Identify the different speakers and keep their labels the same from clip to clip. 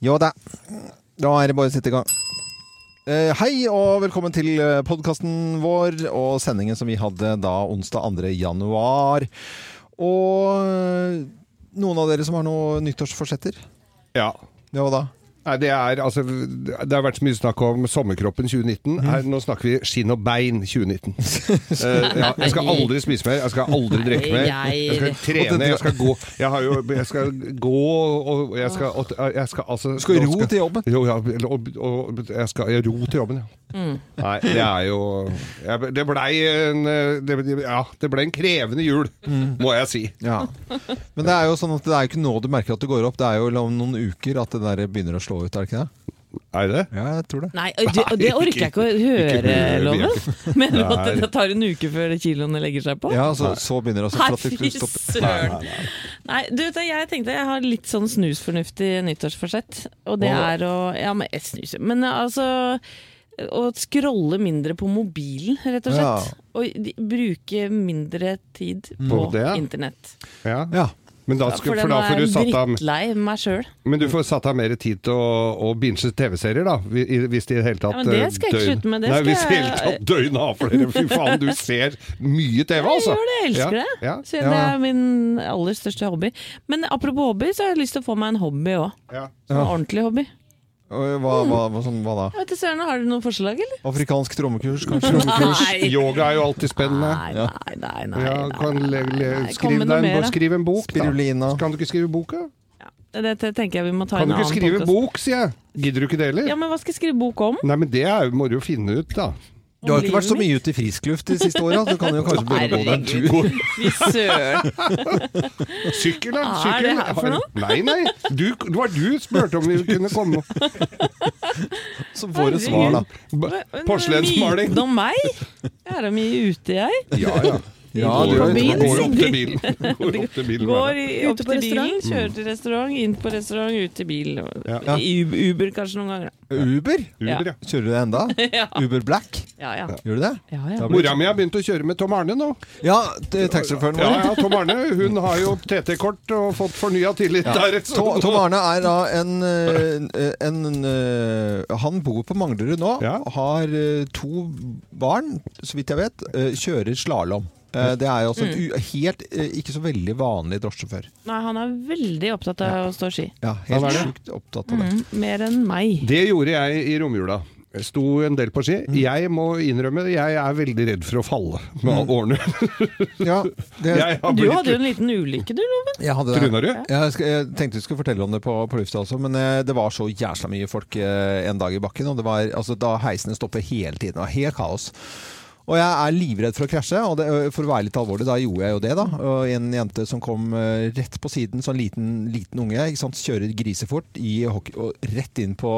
Speaker 1: Jo da. Da er det bare å sette i gang. Eh, Hei og velkommen til podkasten vår og sendingen som vi hadde da onsdag 2. januar. Og eh, noen av dere som har noen nyttårsforsetter?
Speaker 2: Ja.
Speaker 1: Ja da.
Speaker 2: Nei, det, er, altså, det har vært så mye snakk om sommerkroppen 2019.
Speaker 1: Mm.
Speaker 2: Her, nå snakker vi skinn og bein 2019. Eh, ja, jeg skal aldri spise mer, jeg skal aldri drikke mer. Jeg skal trene, jeg skal gå Jeg, har jo, jeg skal gå og jeg skal, og, jeg skal altså
Speaker 1: Du skal ro til jobben.
Speaker 2: Jo, ja, eller- og, og jeg skal jeg ro til jobben, ja.
Speaker 1: Mm.
Speaker 2: Nei, det er jo jeg, Det blei en eh, det, Ja, det ble en krevende jul,
Speaker 1: Mm.
Speaker 2: må jeg si.
Speaker 1: Ja. Men det er jo sånn at det er jo ikke nå du merker at det går opp. Det er jo om noen uker at det der begynner å slå ut, er det ikke det?
Speaker 2: Er det det?
Speaker 1: Ja, jeg tror det.
Speaker 3: Nei, og det, og det orker jeg ikke å høre,
Speaker 2: ikke-
Speaker 3: Loven. Mener du at
Speaker 2: Nei.
Speaker 3: det tar en uke før kiloene legger seg på?
Speaker 1: Ja, så, så begynner det å
Speaker 3: Nei,
Speaker 1: så flatt
Speaker 3: fy
Speaker 1: det stoppe.
Speaker 3: søren. Nei, du, vet du, jeg tenkte jeg har litt sånn snusfornuftig nyttårsforsett. Og det
Speaker 1: Hva
Speaker 3: er å Ja, men jeg snuser. Men altså Å scrolle mindre på mobilen, rett og
Speaker 1: Ja.
Speaker 3: slett. Og de- bruke mindre tid på
Speaker 2: På det?
Speaker 3: internett.
Speaker 2: Ja.
Speaker 1: Ja.
Speaker 2: Men da,
Speaker 3: For
Speaker 2: skal,
Speaker 3: den
Speaker 2: for da får
Speaker 3: er
Speaker 2: du satt av
Speaker 3: drittlei meg sjøl.
Speaker 2: Men du får satt av mer tid til å, å binge TV-serier, da. hvi- i- Hvis de i det hele tatt
Speaker 3: Ja, men det
Speaker 2: eh,
Speaker 3: skal jeg ikke slutte med, det
Speaker 2: Nei,
Speaker 3: skal
Speaker 2: hvis de i det
Speaker 3: jeg-
Speaker 2: hele tatt døgnet har flere. Fy faen, du ser mye TV, altså!
Speaker 3: gjør det, jeg
Speaker 2: ja,
Speaker 3: elsker det.
Speaker 2: Ja,
Speaker 1: Ja.
Speaker 3: Så Det er min aller største hobby. Men apropos hobby, så har jeg lyst til å få meg en hobby òg.
Speaker 2: ja.
Speaker 3: En
Speaker 1: Ja.
Speaker 3: ordentlig hobby.
Speaker 1: Og Hva, hva, hva, sånn, hva da?
Speaker 3: Jeg vet ikke, Søren, Har du noen forslag, eller?
Speaker 1: Afrikansk trommekurs, kanskje?
Speaker 3: Nei,
Speaker 2: Yoga er jo alltid spennende.
Speaker 3: nei, nei. nei, nei,
Speaker 2: Ja, kan
Speaker 3: nei,
Speaker 2: le, le,
Speaker 3: nei, nei. Kom
Speaker 2: skriv, deg
Speaker 3: med noe
Speaker 2: en,
Speaker 3: mer,
Speaker 2: bo-
Speaker 3: da.
Speaker 2: skriv en bok, da.
Speaker 1: Spirulina.
Speaker 2: Kan du ikke skrive bok, da?
Speaker 3: Dette tenker jeg vi må ta i
Speaker 2: Kan
Speaker 3: en
Speaker 2: du ikke
Speaker 3: annen
Speaker 2: skrive
Speaker 3: podcast.
Speaker 2: bok, sier jeg! Gidder du ikke det heller?
Speaker 3: Ja, men Hva skal jeg skrive bok om?
Speaker 2: Nei, men det er jo- må du jo finne ut, da.
Speaker 1: Du har jo ikke vært så
Speaker 3: Livet
Speaker 1: mye ute i frisk luft de siste åra, så du kan jo kanskje begynne å gå deg en tur.
Speaker 3: Fy søren.
Speaker 2: Sykkel, da!
Speaker 3: Hva er
Speaker 2: Sykkel.
Speaker 3: det her for noe?
Speaker 2: Nei, nei! Du, det var du spurte om vi kunne komme
Speaker 1: Så får du svar, da.
Speaker 3: Men
Speaker 2: Porselensmaling!
Speaker 3: myten om meg? Jeg er da mye ute, jeg.
Speaker 2: Ja, ja.
Speaker 1: Ja,
Speaker 2: Går
Speaker 1: du
Speaker 2: jo
Speaker 1: er
Speaker 3: På
Speaker 2: opp- går jo opp til
Speaker 3: byen, sikkert.
Speaker 2: bilen. Går opp til bilen hver
Speaker 3: Går
Speaker 2: dag.
Speaker 3: i,
Speaker 4: Ute
Speaker 3: opp
Speaker 4: på
Speaker 3: til bilen,
Speaker 4: restaurant?
Speaker 3: kjører til restaurant, inn på restaurant, ut til bil.
Speaker 2: Ja.
Speaker 3: I Ub- Uber kanskje noen ganger. da.
Speaker 1: Uber?
Speaker 2: Uber, ja.
Speaker 1: Kjører du det enda?
Speaker 3: Ja,
Speaker 1: Uber Black?
Speaker 3: ja. ja.
Speaker 1: Gjør du det?
Speaker 3: ja, ja.
Speaker 1: Da blir-
Speaker 2: Mora mi har begynt å kjøre med Tom Arne nå.
Speaker 1: Ja, det- taxisjåføren
Speaker 2: Ja,
Speaker 1: vår.
Speaker 2: ja, Tom Arne hun har jo TT-kort og fått fornya tillit der. så-
Speaker 1: Tom, Tom Arne er da en, eh, en eh, Han bor på Manglerud nå.
Speaker 2: Ja.
Speaker 1: Har eh, to barn, så vidt jeg vet. eh, Kjører slalåm. Det er jo også
Speaker 3: Mm.
Speaker 1: en u- helt eh, ikke så veldig vanlig drosjesjåfør.
Speaker 3: Nei, han er veldig opptatt av å stå ski. Mm,
Speaker 1: Ja,
Speaker 2: Hva
Speaker 1: helt
Speaker 2: er det?
Speaker 1: sjukt opptatt av det.
Speaker 3: Mer enn meg.
Speaker 2: Det gjorde jeg i romjula. Jeg Sto en del på ski.
Speaker 1: Mm.
Speaker 2: Jeg må innrømme, jeg er veldig redd for å falle med alle årene.
Speaker 1: Mm.
Speaker 3: Mm.
Speaker 1: Ja, det,
Speaker 2: Jeg har
Speaker 3: Du hadde jo
Speaker 2: blitt
Speaker 3: en liten ulykke, du, Loven.
Speaker 1: jeg hadde det.
Speaker 2: Truna du?
Speaker 1: Jeg, skal, jeg tenkte vi skulle fortelle om det på, på lufta også, men eh, det var så jævla mye folk eh, en dag i bakken. Og det var, altså, da heisene stopper hele tiden. Det var helt kaos. Og jeg er livredd for å krasje, og det, eh, for å være litt alvorlig, da gjorde jeg jo det. da. Og en jente som kom eh, rett på siden, sånn liten, liten unge, ikke sant? kjører grisefort i hockey, og rett inn på,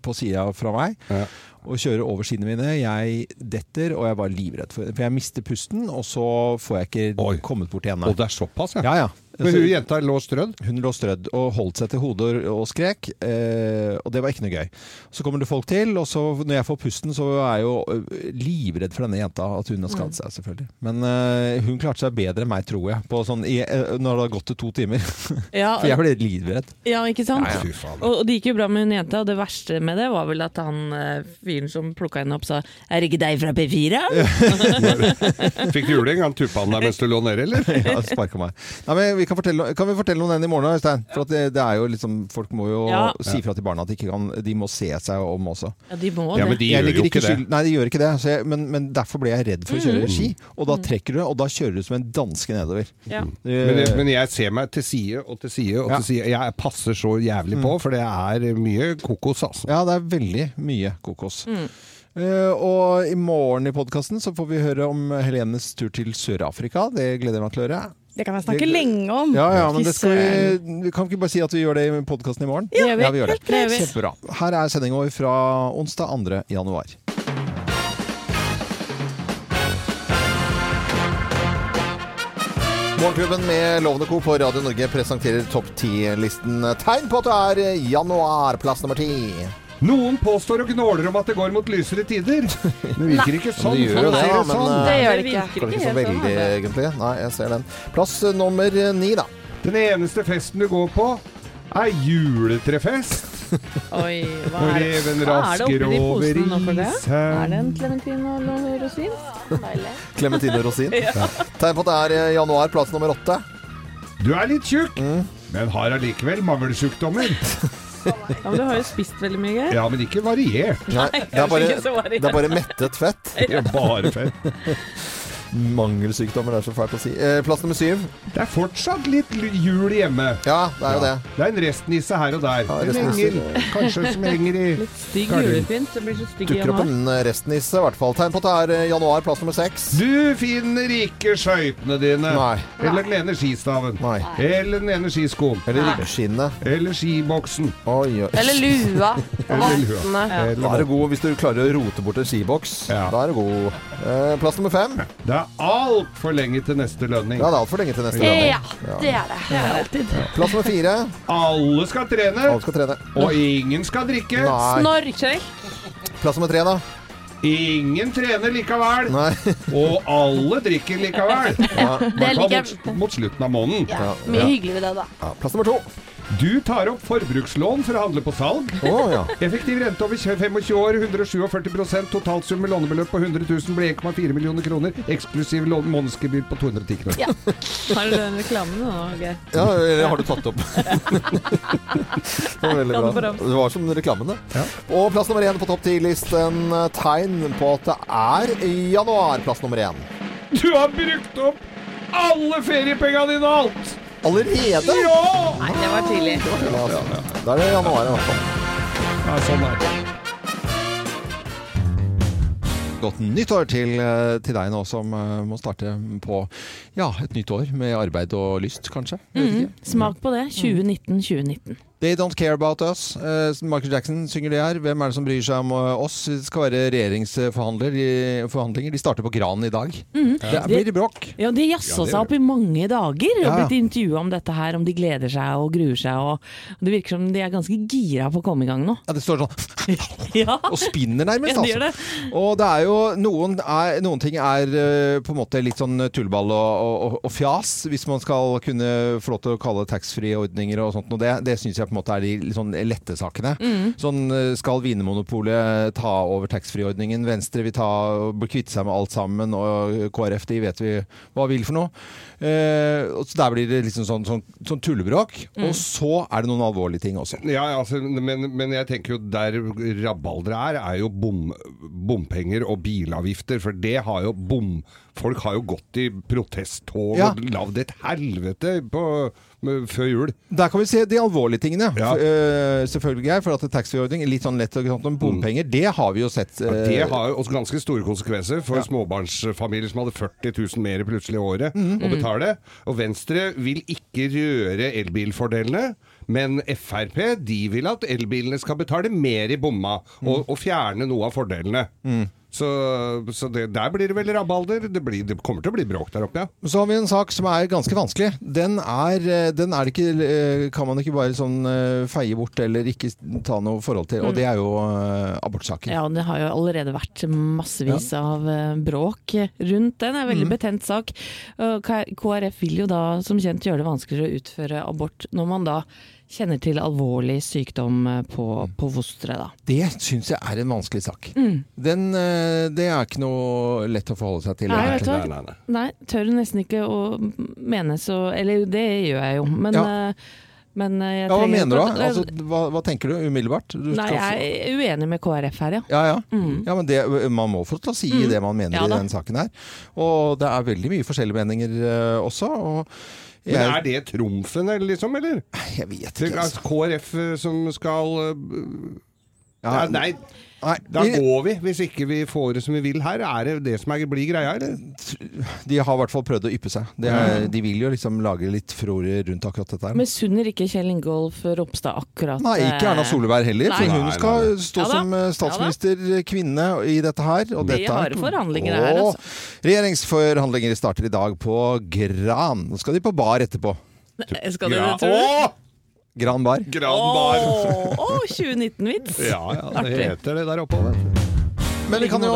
Speaker 1: på sida fra meg.
Speaker 2: Ja.
Speaker 1: Og kjører over sidene mine. Jeg detter, og jeg var livredd. For, for jeg mister pusten, og så får jeg ikke
Speaker 2: Oi.
Speaker 1: kommet bort igjen.
Speaker 2: Og det er såpass, ja.
Speaker 1: Ja, ja.
Speaker 2: Men hun jenta lå strødd.
Speaker 1: Hun lå strødd og holdt seg til hodet og- og skrek, eh, og det var ikke noe gøy. Så kommer det folk til, og så når jeg får pusten, så er jeg jo eh, livredd for denne jenta, at hun har skadet seg, selvfølgelig. Men eh, hun klarte seg bedre enn meg, tror jeg, på sånn, i, eh, når det har gått til to timer. For
Speaker 3: Ja,
Speaker 1: jeg ble livredd.
Speaker 3: ja, ikke sant?
Speaker 1: Ja, ja.
Speaker 2: Fy faen.
Speaker 3: Og, og det gikk jo bra med hun jenta, og det verste med det var vel at han eh, fyren som plukka henne opp, sa 'Er det ikke deg fra P4?'
Speaker 2: Fikk du juling? Han tuppa han deg mens du lå nede, eller?
Speaker 1: Ja, sparket meg. Nei, men vi kan, fortelle, kan vi fortelle om den i morgen, Øystein? For at det, det er jo liksom, folk må jo
Speaker 3: Ja.
Speaker 1: si fra til barna at de, ikke kan, de må se seg om også.
Speaker 3: Ja, de må
Speaker 2: Ja, men
Speaker 3: det.
Speaker 2: de
Speaker 1: Jeg
Speaker 2: gjør
Speaker 1: legger
Speaker 2: jo
Speaker 1: ikke
Speaker 2: ikke det.
Speaker 1: skyld- Nei, de gjør ikke det. Så jeg, men, men derfor ble jeg redd for å kjøre ski. Og da trekker du, og da kjører du som en danske nedover.
Speaker 3: Ja.
Speaker 2: Mm. Men, jeg- men jeg ser meg til side og til side og
Speaker 1: Ja.
Speaker 2: til side. Jeg passer så jævlig på, for det er mye kokos, altså.
Speaker 1: Ja, det er veldig mye kokos. Eh, og i morgen i podkasten så får vi høre om Helenes tur til Sør-Afrika. Det gleder jeg meg til å høre.
Speaker 4: Det kan jeg snakke
Speaker 1: Det-
Speaker 4: lenge om.
Speaker 1: Ja, ja, men det skal
Speaker 4: Fy
Speaker 1: vi, vi kan ikke bare si at vi gjør det i podkasten i morgen?
Speaker 3: Det gjør vi.
Speaker 1: Ja, vi gjør det.
Speaker 3: Det gjør vi.
Speaker 1: Kjempebra. Her er sendinga vår fra onsdag 2. januar. Morgenklubben med Lovende Co. på Radio Norge presenterer topp ti-listen. Tegn på at det er januar, plass nummer ti.
Speaker 2: Noen påstår og gnåler om at det går mot lysere tider. Det virker ikke sånn.
Speaker 1: det gjør jo
Speaker 2: folk
Speaker 1: det,
Speaker 2: ser
Speaker 1: da, men, eh,
Speaker 2: sånn.
Speaker 4: Det gjør det
Speaker 3: Det
Speaker 4: ikke.
Speaker 1: Kan
Speaker 3: virker ikke
Speaker 1: ikke så
Speaker 3: helt sånn,
Speaker 1: veldig,
Speaker 3: da.
Speaker 1: egentlig. Nei, jeg ser den. Plass nummer ni, da.
Speaker 2: Den eneste festen du går på, er juletrefest.
Speaker 3: Oi, hva
Speaker 2: Og
Speaker 3: er det?
Speaker 2: reven
Speaker 3: Hva er det
Speaker 2: rasker
Speaker 3: oppi de
Speaker 2: over
Speaker 3: posene nå for det?
Speaker 2: isen.
Speaker 3: Er det en klementin og noe rosin? Deilig.
Speaker 1: Clementine Rosin. Tegn på at det er eh, januar, plass nummer åtte.
Speaker 2: Du er litt tjukk,
Speaker 3: Mm.
Speaker 2: men har allikevel mangelsjukdommer.
Speaker 3: Ja, men du har jo spist veldig mye, Geir.
Speaker 2: Ja, men ikke variert.
Speaker 1: Nei, det, er bare,
Speaker 3: ikke så variert.
Speaker 1: det er bare mettet fett.
Speaker 2: Det er bare fett.
Speaker 1: Mangelsykdommer, det er så fælt å si. Eh, plass nummer syv.
Speaker 2: Det er fortsatt litt l- jul hjemme.
Speaker 1: Ja, det er jo det.
Speaker 2: Det er en restnisse her og der.
Speaker 1: Ja,
Speaker 2: En
Speaker 1: restnisse.
Speaker 2: engel, kanskje, som henger i
Speaker 3: Litt stygg
Speaker 2: Gardin.
Speaker 3: julepynt. Det blir så stygg i
Speaker 1: Dukker opp
Speaker 3: januar.
Speaker 1: en restnisse, i hvert fall. Tegn på at det er eh, januar, plass nummer seks.
Speaker 2: Du finner ikke skøytene dine.
Speaker 1: Nei.
Speaker 2: Eller den ene skistaven.
Speaker 1: Nei.
Speaker 2: Eller den ene skiskoen.
Speaker 1: Eller ribskinnet.
Speaker 2: Eller skiboksen.
Speaker 1: Oi, oi.
Speaker 4: Eller lua.
Speaker 2: Eller lua.
Speaker 4: Vottene.
Speaker 1: Da er
Speaker 2: Eller
Speaker 1: det god hvis du klarer å rote bort en skiboks.
Speaker 2: Ja.
Speaker 1: Da er det god. Eh, plass nummer fem.
Speaker 2: Det er altfor lenge til neste lønning.
Speaker 1: Ja, det er altfor lenge til neste
Speaker 4: Ja,
Speaker 1: gang.
Speaker 4: det er det.
Speaker 3: Det er alltid.
Speaker 1: Plass nummer fire.
Speaker 2: Alle skal trene,
Speaker 1: Alle skal trene.
Speaker 2: og ingen skal drikke.
Speaker 1: Nei.
Speaker 4: Snorkjøy.
Speaker 1: Plass nummer tre, da.
Speaker 2: Ingen trener likevel,
Speaker 1: Nei.
Speaker 2: og alle drikker likevel.
Speaker 1: Ja.
Speaker 4: Det
Speaker 2: I hvert fall
Speaker 4: liker
Speaker 2: mot, mot slutten av måneden.
Speaker 4: Ja,
Speaker 1: Ja.
Speaker 4: mye hyggelig ved det, da.
Speaker 1: Ja, plass nummer to.
Speaker 2: Du tar opp forbrukslån for å handle på salg.
Speaker 1: Å ja.
Speaker 2: Effektiv rente over 25 år, 147 totalsum med lånebeløp på 100 000 blir 1,4 millioner kroner, eksklusiv lån- månedsgebyr på 210 kroner.
Speaker 3: Har du den reklamen nå, Geir?
Speaker 1: ja eller har du tatt opp? det var veldig
Speaker 3: Kan du
Speaker 1: bra.
Speaker 3: prøve?
Speaker 1: Det var som reklamen, det.
Speaker 2: Ja.
Speaker 1: Og plass nummer én på topp ti-listen. eh, Tegn på at det er januar. Plass nummer én.
Speaker 2: Du har brukt opp alle feriepengene dine og alt!
Speaker 1: Allerede?
Speaker 2: Ja!
Speaker 3: Nei, det var tidlig.
Speaker 1: Ja, altså. Da er det januar i hvert fall.
Speaker 2: ja sånn er det.
Speaker 1: Godt nyttår til, eh, til deg nå som eh, må starte på ja, et nytt år med arbeid og lyst, kanskje. Jeg
Speaker 3: Mhm.
Speaker 1: vet ikke.
Speaker 3: Mm. Smak på det. 2019-2019.
Speaker 1: They don't care about us. Eh, Michael Jackson synger det her. Hvem er det som bryr seg om eh, oss? Det skal være regjeringsforhandlinger. De starter på Gran i dag. Det blir bråk.
Speaker 3: Mhm. Ja, De jazza
Speaker 2: Ja, det
Speaker 3: seg opp i mange dager og
Speaker 1: Ja, ja.
Speaker 3: blitt intervjua om dette her, om de gleder seg og gruer seg. Og det virker som de er ganske gira på å komme i gang nå.
Speaker 1: Ja, det står sånn
Speaker 3: Ja,
Speaker 1: og spinner nærmest,
Speaker 3: Ja, de gjør
Speaker 1: altså. Og det er jo noen, er, noen ting er eh, på en måte litt sånn tullball og, og, og fjas, hvis man skal kunne få lov til å kalle taxfree-ordninger og sånt. Og det det syns jeg på en måte er de litt sånn lette sakene. Sånn eh, skal Vinmonopolet ta over taxfree-ordningen, Venstre vil ta og kvitte seg med alt sammen, og KrF de vet vi hva vil for noe. Eh, og så der blir det liksom sånn, sånn, sånn tullebråk. Og så er det noen alvorlige ting også.
Speaker 2: Ja, altså, men, men jeg tenker jo der rabalderet er, er jo bom, bompenger og bilavgifter. For det har jo bom... Folk har jo gått i protesttog
Speaker 1: Ja.
Speaker 2: og lagd et helvete på, med, før jul.
Speaker 1: Der kan vi se de alvorlige tingene.
Speaker 2: Ja.
Speaker 1: For, øh, selvfølgelig er for at taxfree-ordning litt sånn lett og sånt om bompenger. Det har vi jo sett. øh,
Speaker 2: Det har jo også ganske store konsekvenser for småbarnsfamilier som hadde 40 000 mer plutselig i året å betale. Og Venstre vil ikke røre elbilfordelene, men Frp de vil at elbilene skal betale mer i bomma, og, og fjerne noe av fordelene. Så, så det, der blir det vel rabalder. Det, blir, det kommer til å bli bråk der oppe, ja.
Speaker 1: Så har vi en sak som er ganske vanskelig. Den, er, øh, den er det ikke, øh, kan man ikke bare sånn øh, feie bort eller ikke ta noe forhold til, og det er jo øh, abortsaken.
Speaker 3: Ja, og Det har jo allerede vært massevis av eh, bråk rundt den. Det er en
Speaker 1: Mm.
Speaker 3: veldig betent sak. Og K- KrF vil jo da som kjent gjøre det vanskeligere å utføre abort når man da kjenner til alvorlig sykdom eh, på,
Speaker 1: Mm.
Speaker 3: på fosteret. da.
Speaker 1: Det syns jeg er en vanskelig sak.
Speaker 3: Mm.
Speaker 1: Den, øh, det er ikke noe lett å forholde seg til.
Speaker 3: Nei,
Speaker 1: egentlig.
Speaker 3: vet du hva?
Speaker 2: Nei, nei, nei.
Speaker 3: Nei, tør nesten ikke å mene så Eller det gjør jeg jo, men,
Speaker 1: Ja.
Speaker 3: eh, men eh, jeg
Speaker 1: ja, hva
Speaker 3: trenger
Speaker 1: mener du?
Speaker 3: ikke å-
Speaker 1: da? Altså, hva, hva tenker du umiddelbart? Du
Speaker 3: Nei,
Speaker 1: skal få-
Speaker 3: jeg er uenig med KrF her, ja.
Speaker 1: Ja, ja. ja men det, man må få til å si det man mener
Speaker 3: Mm. Ja
Speaker 1: i
Speaker 3: da.
Speaker 1: den saken her. Og det er veldig mye forskjellige meninger eh, også. Og jeg,
Speaker 2: Men er det trumfen, eller liksom? Eller?
Speaker 1: jeg vet
Speaker 2: Det
Speaker 1: ikke,
Speaker 2: er
Speaker 1: altså.
Speaker 2: KrF som skal eh,
Speaker 1: Ja,
Speaker 2: Nei, nei,
Speaker 1: nei,
Speaker 2: da
Speaker 1: de,
Speaker 2: går vi. Hvis ikke vi får det som vi vil her, er det det som er, blir greia, eller?
Speaker 1: de har i hvert fall prøvd å yppe seg. Det er,
Speaker 3: Mm.
Speaker 1: de vil jo liksom lage litt furore rundt akkurat dette her.
Speaker 3: Misunner ikke Kjell Ingolf Ropstad akkurat
Speaker 1: Nei, ikke Erna
Speaker 3: eh,
Speaker 1: Solberg heller, for
Speaker 3: Nei.
Speaker 1: hun
Speaker 2: Nei,
Speaker 1: skal
Speaker 2: nei,
Speaker 1: stå
Speaker 3: Ja da.
Speaker 1: som eh, statsminister, kvinne, i dette her. Og
Speaker 3: Vi
Speaker 1: dette
Speaker 3: har
Speaker 1: er-
Speaker 3: forhandlinger her, altså.
Speaker 1: Åh, Regjeringsforhandlinger starter i dag på Gran. Nå skal de på bar etterpå.
Speaker 3: Skal du
Speaker 2: Gra-
Speaker 3: det, tror du?
Speaker 2: Åh!
Speaker 1: Gran bar.
Speaker 2: Gran bar.
Speaker 3: Å, 2019-vits!
Speaker 2: Ja, ja, det
Speaker 3: Artig.
Speaker 2: heter det der oppe. Vet du.
Speaker 1: Men vi kan jo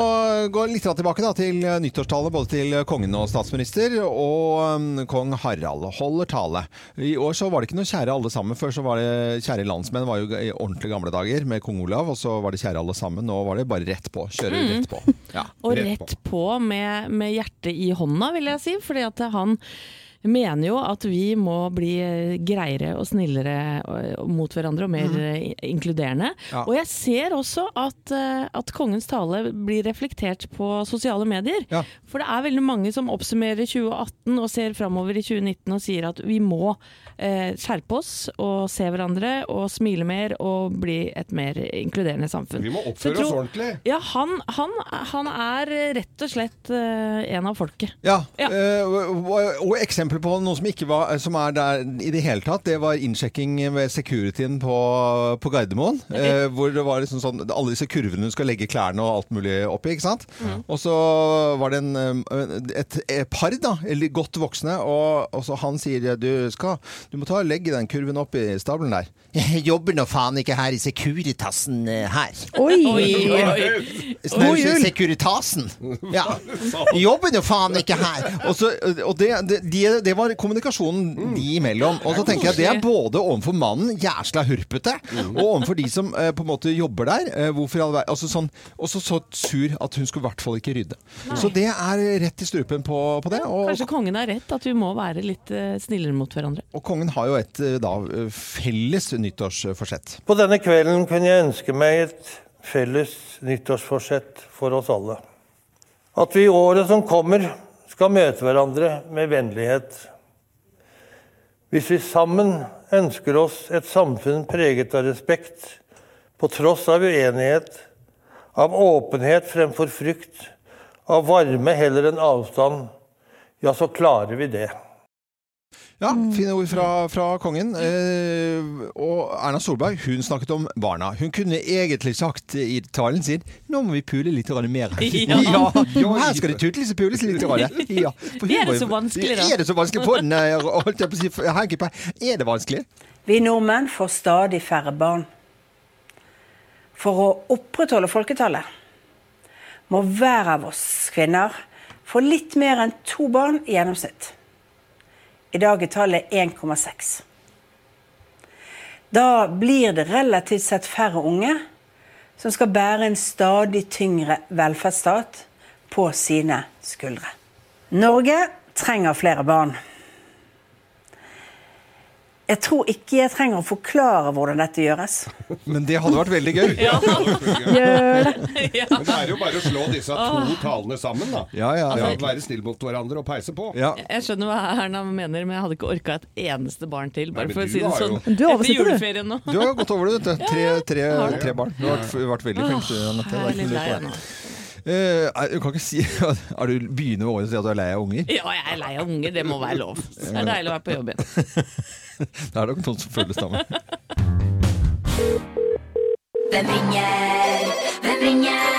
Speaker 1: gå litt tilbake da, til nyttårstallet, både til kongen og statsminister. Og um, kong Harald holder tale. I år så var det ikke noe kjære alle sammen. Før så var det kjære landsmenn var jo i ordentlig gamle dager med kong Olav. Og så var det kjære alle sammen. Nå var det bare rett på. Kjøre rett på. Ja,
Speaker 3: Mm. Og rett på med, med hjertet i hånda, vil jeg si. Fordi at han mener jo at vi må bli eh, greiere og snillere og- mot hverandre og mer eh, inkluderende.
Speaker 1: Ja.
Speaker 3: Og jeg ser også at, eh, at kongens tale blir reflektert på sosiale medier.
Speaker 1: Ja.
Speaker 3: For det er veldig mange som oppsummerer 2018 og ser framover i 2019 og sier at vi må eh, skjerpe oss og se hverandre og smile mer og bli et mer inkluderende samfunn.
Speaker 2: Vi må
Speaker 3: Så jeg
Speaker 2: oppføre oss
Speaker 3: tror-
Speaker 2: ordentlig.
Speaker 3: Ja, han, han, han er rett og slett eh, en av folket.
Speaker 1: Ja,
Speaker 3: Ja.
Speaker 1: eh, og, og- og eksempel på noe som ikke var Som er der i det hele tatt, det var innsjekking ved securityen på, på Gardermoen. eh, hvor det var liksom sånn alle disse kurvene du skal legge klærne og alt mulig oppi, ikke sant. Og så var det en, eh, et, et par, da, eller godt voksne, og, og så han sier du skal Du må ta og legge den kurven opp i stabelen der. Jeg jobber nå faen ikke her i Securitasen eh, her.
Speaker 3: Oi, oi, oi.
Speaker 1: Snause Securitasen. Ja. Jobben jo faen ikke her! Og, så, og det, det, de- det var kommunikasjonen de imellom. Og så tenker jeg det er både overfor mannen, jæsla hurpete, og overfor de som eh, på en måte jobber der. Eh, hvorfor i all verden altså sånn, Og så så sur at hun skulle i hvert fall ikke rydde. Så det er rett i strupen på, på det.
Speaker 3: Kanskje
Speaker 1: Og,
Speaker 3: kongen har rett, at vi må være litt eh, snillere mot hverandre.
Speaker 1: og kongen har jo et eh, da felles nyttårsforsett.
Speaker 4: På denne kvelden kunne jeg ønske meg et felles nyttårsforsett for oss alle. At vi i året som kommer skal møte hverandre med vennlighet. Hvis vi sammen ønsker oss et samfunn preget av respekt, på tross av uenighet, av åpenhet fremfor frykt, av varme heller enn avstand, ja, så klarer vi det.
Speaker 1: Ja, fine ord fra, fra kongen. Eh, og Erna Solberg hun snakket om barna. Hun kunne egentlig sagt i talen sin nå må vi pule litt grann mer.
Speaker 3: Ja.
Speaker 1: jo, her skal det tutles og pules litt. Grann. Ja, for hun
Speaker 3: Det er det
Speaker 1: var jo-
Speaker 3: så vanskelig, da.
Speaker 1: Er det så vanskelig på den? eh, Holdt jeg på å si, hanky pie? er det vanskelig?
Speaker 5: Vi nordmenn får stadig færre barn. For å opprettholde folketallet må hver av oss kvinner få litt mer enn to barn i gjennomsnitt. I dag er tallet 1,6. Da blir det relativt sett færre unge som skal bære en stadig tyngre velferdsstat på sine skuldre. Norge trenger flere barn. Jeg tror ikke jeg trenger å forklare hvordan dette gjøres.
Speaker 1: Men det hadde vært veldig gøy. Ja,
Speaker 2: Men det er jo bare å slå disse to talene sammen, da.
Speaker 1: Ja, ja, ja.
Speaker 2: Være snill mot hverandre og peise på.
Speaker 1: ja.
Speaker 3: Jeg skjønner hva Erna mener, men jeg hadde ikke orka et eneste barn til. Bare
Speaker 2: Nei, men
Speaker 3: for å
Speaker 2: du
Speaker 3: si det
Speaker 2: har
Speaker 3: sånn.
Speaker 2: jo-
Speaker 6: Du
Speaker 3: Etter
Speaker 6: oversetter, du.
Speaker 3: juleferien nå.
Speaker 1: Du har jo gått over det, vet du. Tre, tre, tre barn. Du har vært, vært veldig flink. du, Anette. Det er ikke
Speaker 3: Herlig
Speaker 1: noe lurt
Speaker 3: lei
Speaker 1: på
Speaker 3: av
Speaker 1: det.
Speaker 3: nå.
Speaker 1: Eh, er- du kan ikke si Er du begynner med året å si at du er lei av unger?
Speaker 3: Ja, jeg er lei av unger, det må være lov. Så Det er deilig å være på jobb igjen.
Speaker 1: Det er nok noen som føler det samme.
Speaker 7: Hvem ringer? Hvem ringer?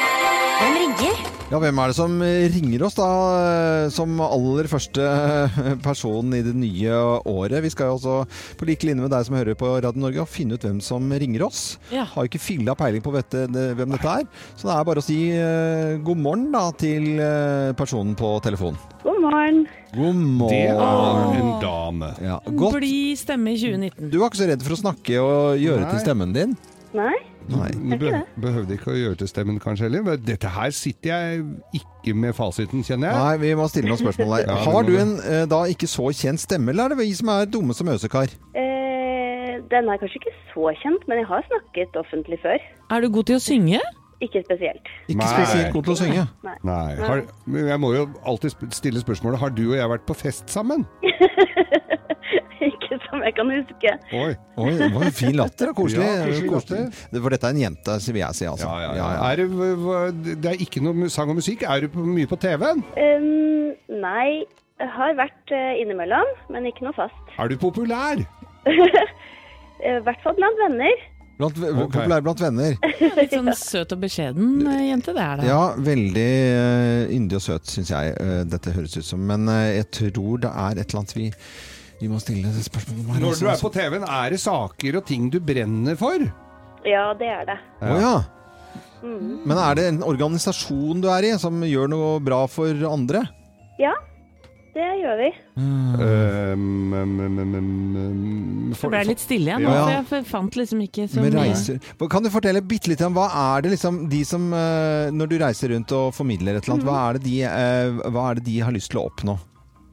Speaker 7: Hvem ringer?
Speaker 1: Ja, hvem er det som ringer oss da, eh, som aller første eh, person i det nye året? Vi skal jo også, på like linje med deg som hører på Radio Norge, finne ut hvem som ringer oss.
Speaker 3: Ja.
Speaker 1: Har jo ikke filla peiling på vet, hvem dette er, så det er bare å si eh, god morgen da, til eh, personen på telefonen.
Speaker 8: God morgen.
Speaker 1: God
Speaker 2: Det
Speaker 1: morgen.
Speaker 2: er en dame.
Speaker 1: Ja, godt.
Speaker 3: Blid stemme i 2019.
Speaker 1: Du var ikke så redd for å snakke og gjøre
Speaker 2: Nei.
Speaker 1: til stemmen din?
Speaker 8: Nei?
Speaker 1: Nei.
Speaker 2: Du be behøvde ikke å gjøre til stemmen kanskje heller. men Dette her sitter jeg ikke med fasiten, kjenner jeg.
Speaker 1: Nei, vi må stille noen spørsmål her.
Speaker 2: Ja, vi må
Speaker 1: Har du
Speaker 2: det.
Speaker 1: en eh, da ikke så kjent stemme, eller er det vi som er dumme som øsekar?
Speaker 8: Eh, den er kanskje ikke så kjent, men jeg har snakket offentlig før.
Speaker 3: Er du god til å synge?
Speaker 8: Ikke spesielt.
Speaker 1: Ikke
Speaker 2: Nei.
Speaker 1: spesielt god til å synge.
Speaker 2: Nei. Har, men jeg må jo alltid sp- stille spørsmålet Har du og jeg vært på fest sammen?
Speaker 8: ikke som jeg kan huske.
Speaker 2: Oi.
Speaker 1: Oi, det var en fin latter. da. Koselig.
Speaker 2: Ja, koselig latter.
Speaker 1: Det- For dette er en jente, så vil jeg si. Altså.
Speaker 2: Ja, ja, ja. Er det, hva- det er ikke noe mu- sang og musikk. Er du på- mye på TV-en?
Speaker 8: Um, nei, jeg har vært eh, innimellom, men ikke noe fast.
Speaker 2: Er du populær?
Speaker 8: Eh, I hvert fall blant venner.
Speaker 1: Blant,
Speaker 2: Ok.
Speaker 1: Populær blant venner.
Speaker 3: Litt sånn søt og beskjeden eh, jente, det er det.
Speaker 1: Ja, veldig eh, yndig og søt, syns jeg eh, dette høres ut som. Men eh, jeg tror det er et eller annet vi vi må stille det spørsmålet her.
Speaker 2: Når
Speaker 1: altså.
Speaker 2: du er på TV-en, er det saker og ting du brenner for?
Speaker 8: Ja, det er det.
Speaker 1: Å ja. Men er det en organisasjon du er i, som gjør noe bra for andre?
Speaker 8: Ja, det gjør vi.
Speaker 1: Mm.
Speaker 2: Um, um, um, um, um, for-
Speaker 3: Det ble litt stille igjen, nå,
Speaker 1: Ja.
Speaker 3: for jeg f- fant liksom ikke så
Speaker 1: Med
Speaker 3: mye.
Speaker 1: reiser. Kan du fortelle bitte litt om hva er det liksom de som eh, Når du reiser rundt og formidler et eller annet, hva
Speaker 8: Mm.
Speaker 1: er det de, eh, hva er det de har lyst til å oppnå?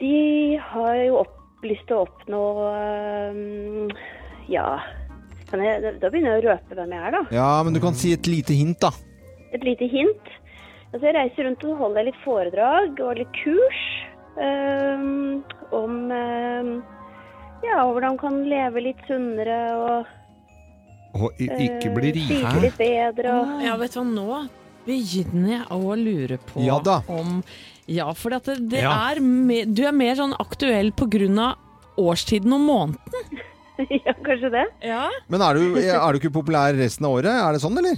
Speaker 8: De har jo opp, lyst til å oppnå øhm, Ja kan jeg, Da begynner jeg å røpe hvem jeg er, da.
Speaker 1: Ja, men du
Speaker 8: Mm.
Speaker 1: kan si et lite hint, da.
Speaker 8: Et lite hint. Altså, jeg reiser rundt og holder litt foredrag og litt kurs øhm, om øhm, ja, hvordan man kan leve litt sunnere og
Speaker 2: Og i- ikke
Speaker 8: øh,
Speaker 1: eh,
Speaker 2: bli rik.
Speaker 8: spise litt bedre. Og,
Speaker 3: Ja, vet du hva, nå begynner jeg å lure på
Speaker 1: Ja da.
Speaker 3: om Ja, for det, det
Speaker 1: Ja.
Speaker 3: er mer, du er mer sånn aktuell på grunn av årstiden og måneden.
Speaker 8: ja, kanskje det?
Speaker 3: Ja.
Speaker 1: Men er du, eh, er du ikke populær resten av året? Er det sånn, eller?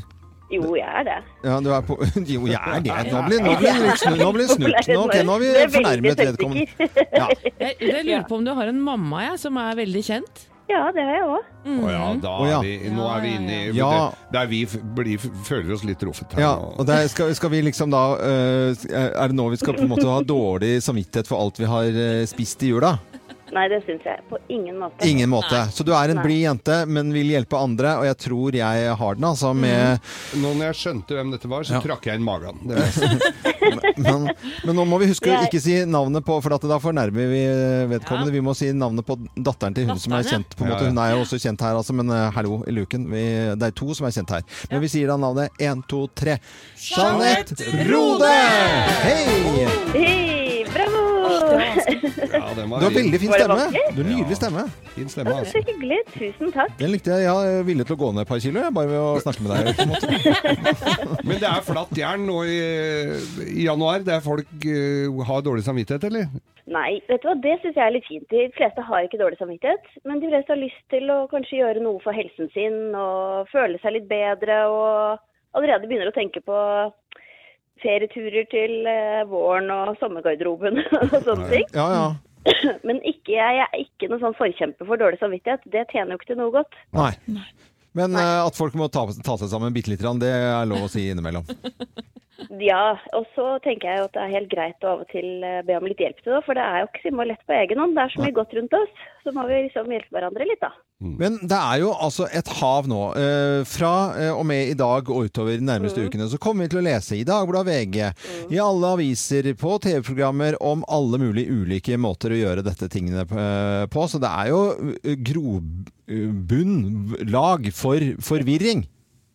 Speaker 8: Jo, jeg er det.
Speaker 1: Ja, du er på, jo, jeg er det. Nå blir nå blir det litt snu- nå blir det snurt. Nå, ok, nå har
Speaker 8: Det
Speaker 1: vi
Speaker 8: er veldig
Speaker 1: fornærmet vedkommende.
Speaker 8: selvsikker.
Speaker 1: Ja.
Speaker 3: Jeg, jeg lurer på om du har en mamma jeg, som er veldig kjent.
Speaker 8: Ja, det har jeg òg.
Speaker 2: Å ja, da
Speaker 1: Å Mm. ja.
Speaker 2: er vi, nå er vi inne i
Speaker 1: Ja.
Speaker 2: det- Der vi f- blir, føler oss litt roffet her
Speaker 1: Ja,
Speaker 2: nå.
Speaker 1: og der skal, skal vi liksom da øh, Er det nå vi skal på en måte ha dårlig samvittighet for alt vi har øh, spist i jula?
Speaker 8: Nei, det syns jeg på ingen måte.
Speaker 1: Ingen måte. Så du er en blid jente, men vil hjelpe andre, og jeg tror jeg har den, altså, med
Speaker 2: Nå når jeg skjønte hvem dette var, så
Speaker 1: Ja.
Speaker 2: trakk jeg inn magen. Det er-
Speaker 1: men, men nå må vi huske å
Speaker 8: Jeg-
Speaker 1: ikke si navnet på For at da fornærmer vi vedkommende. Vi må si navnet på datteren til hun som er
Speaker 3: Datteren, ja.
Speaker 1: kjent. På en
Speaker 2: Ja,
Speaker 1: måte.
Speaker 2: ja.
Speaker 1: Hun er jo også kjent her, altså, men eh, hallo, i luken. Vi, det er to som er kjent her. Men vi sier da navnet én, to, tre. Jeanette Rode! Hei!
Speaker 8: Hei, bravo!
Speaker 2: Ja, den var
Speaker 1: Du har
Speaker 2: fin.
Speaker 1: veldig fin
Speaker 8: Var det
Speaker 1: stemme.
Speaker 8: vanskelig?
Speaker 1: Du har Nydelig stemme.
Speaker 2: Fin stemme,
Speaker 8: Så
Speaker 2: altså.
Speaker 8: hyggelig. Tusen takk.
Speaker 1: Den likte jeg. Jeg er villig til å gå ned et par kilo, jeg, bare ved å snakke med deg. på en måte.
Speaker 2: Men det er flatt jern nå i, i januar, der folk eh, har dårlig samvittighet, eller?
Speaker 8: Nei, vet du hva, det syns jeg er litt fint. De fleste har ikke dårlig samvittighet, men de fleste har lyst til å kanskje gjøre noe for helsen sin og føle seg litt bedre og allerede begynner å tenke på ferieturer til eh, våren og sommergarderoben og sånne ting.
Speaker 1: Ja, ja.
Speaker 8: Men ikke, jeg er ikke noen sånn forkjemper for dårlig samvittighet. Det tjener jo ikke til noe godt.
Speaker 1: Nei. Men eh, at folk må ta, ta seg sammen bitte lite grann, det er lov å si innimellom.
Speaker 8: Ja, og så tenker jeg jo at det er helt greit å av og til eh, be om litt hjelp til det, for det er jo ikke så innmari lett på egen hånd. Det er så mye godt rundt oss, så må vi liksom hjelpe hverandre litt, da.
Speaker 1: Men det er jo altså et hav nå. Eh, Fra eh, og med i dag og utover de nærmeste ukene så kommer vi til å lese i Dagbladet VG, i alle aviser, på TV-programmer om alle mulige ulike måter å gjøre dette tingene eh, på. Så det er jo eh, grobunnlag for forvirring.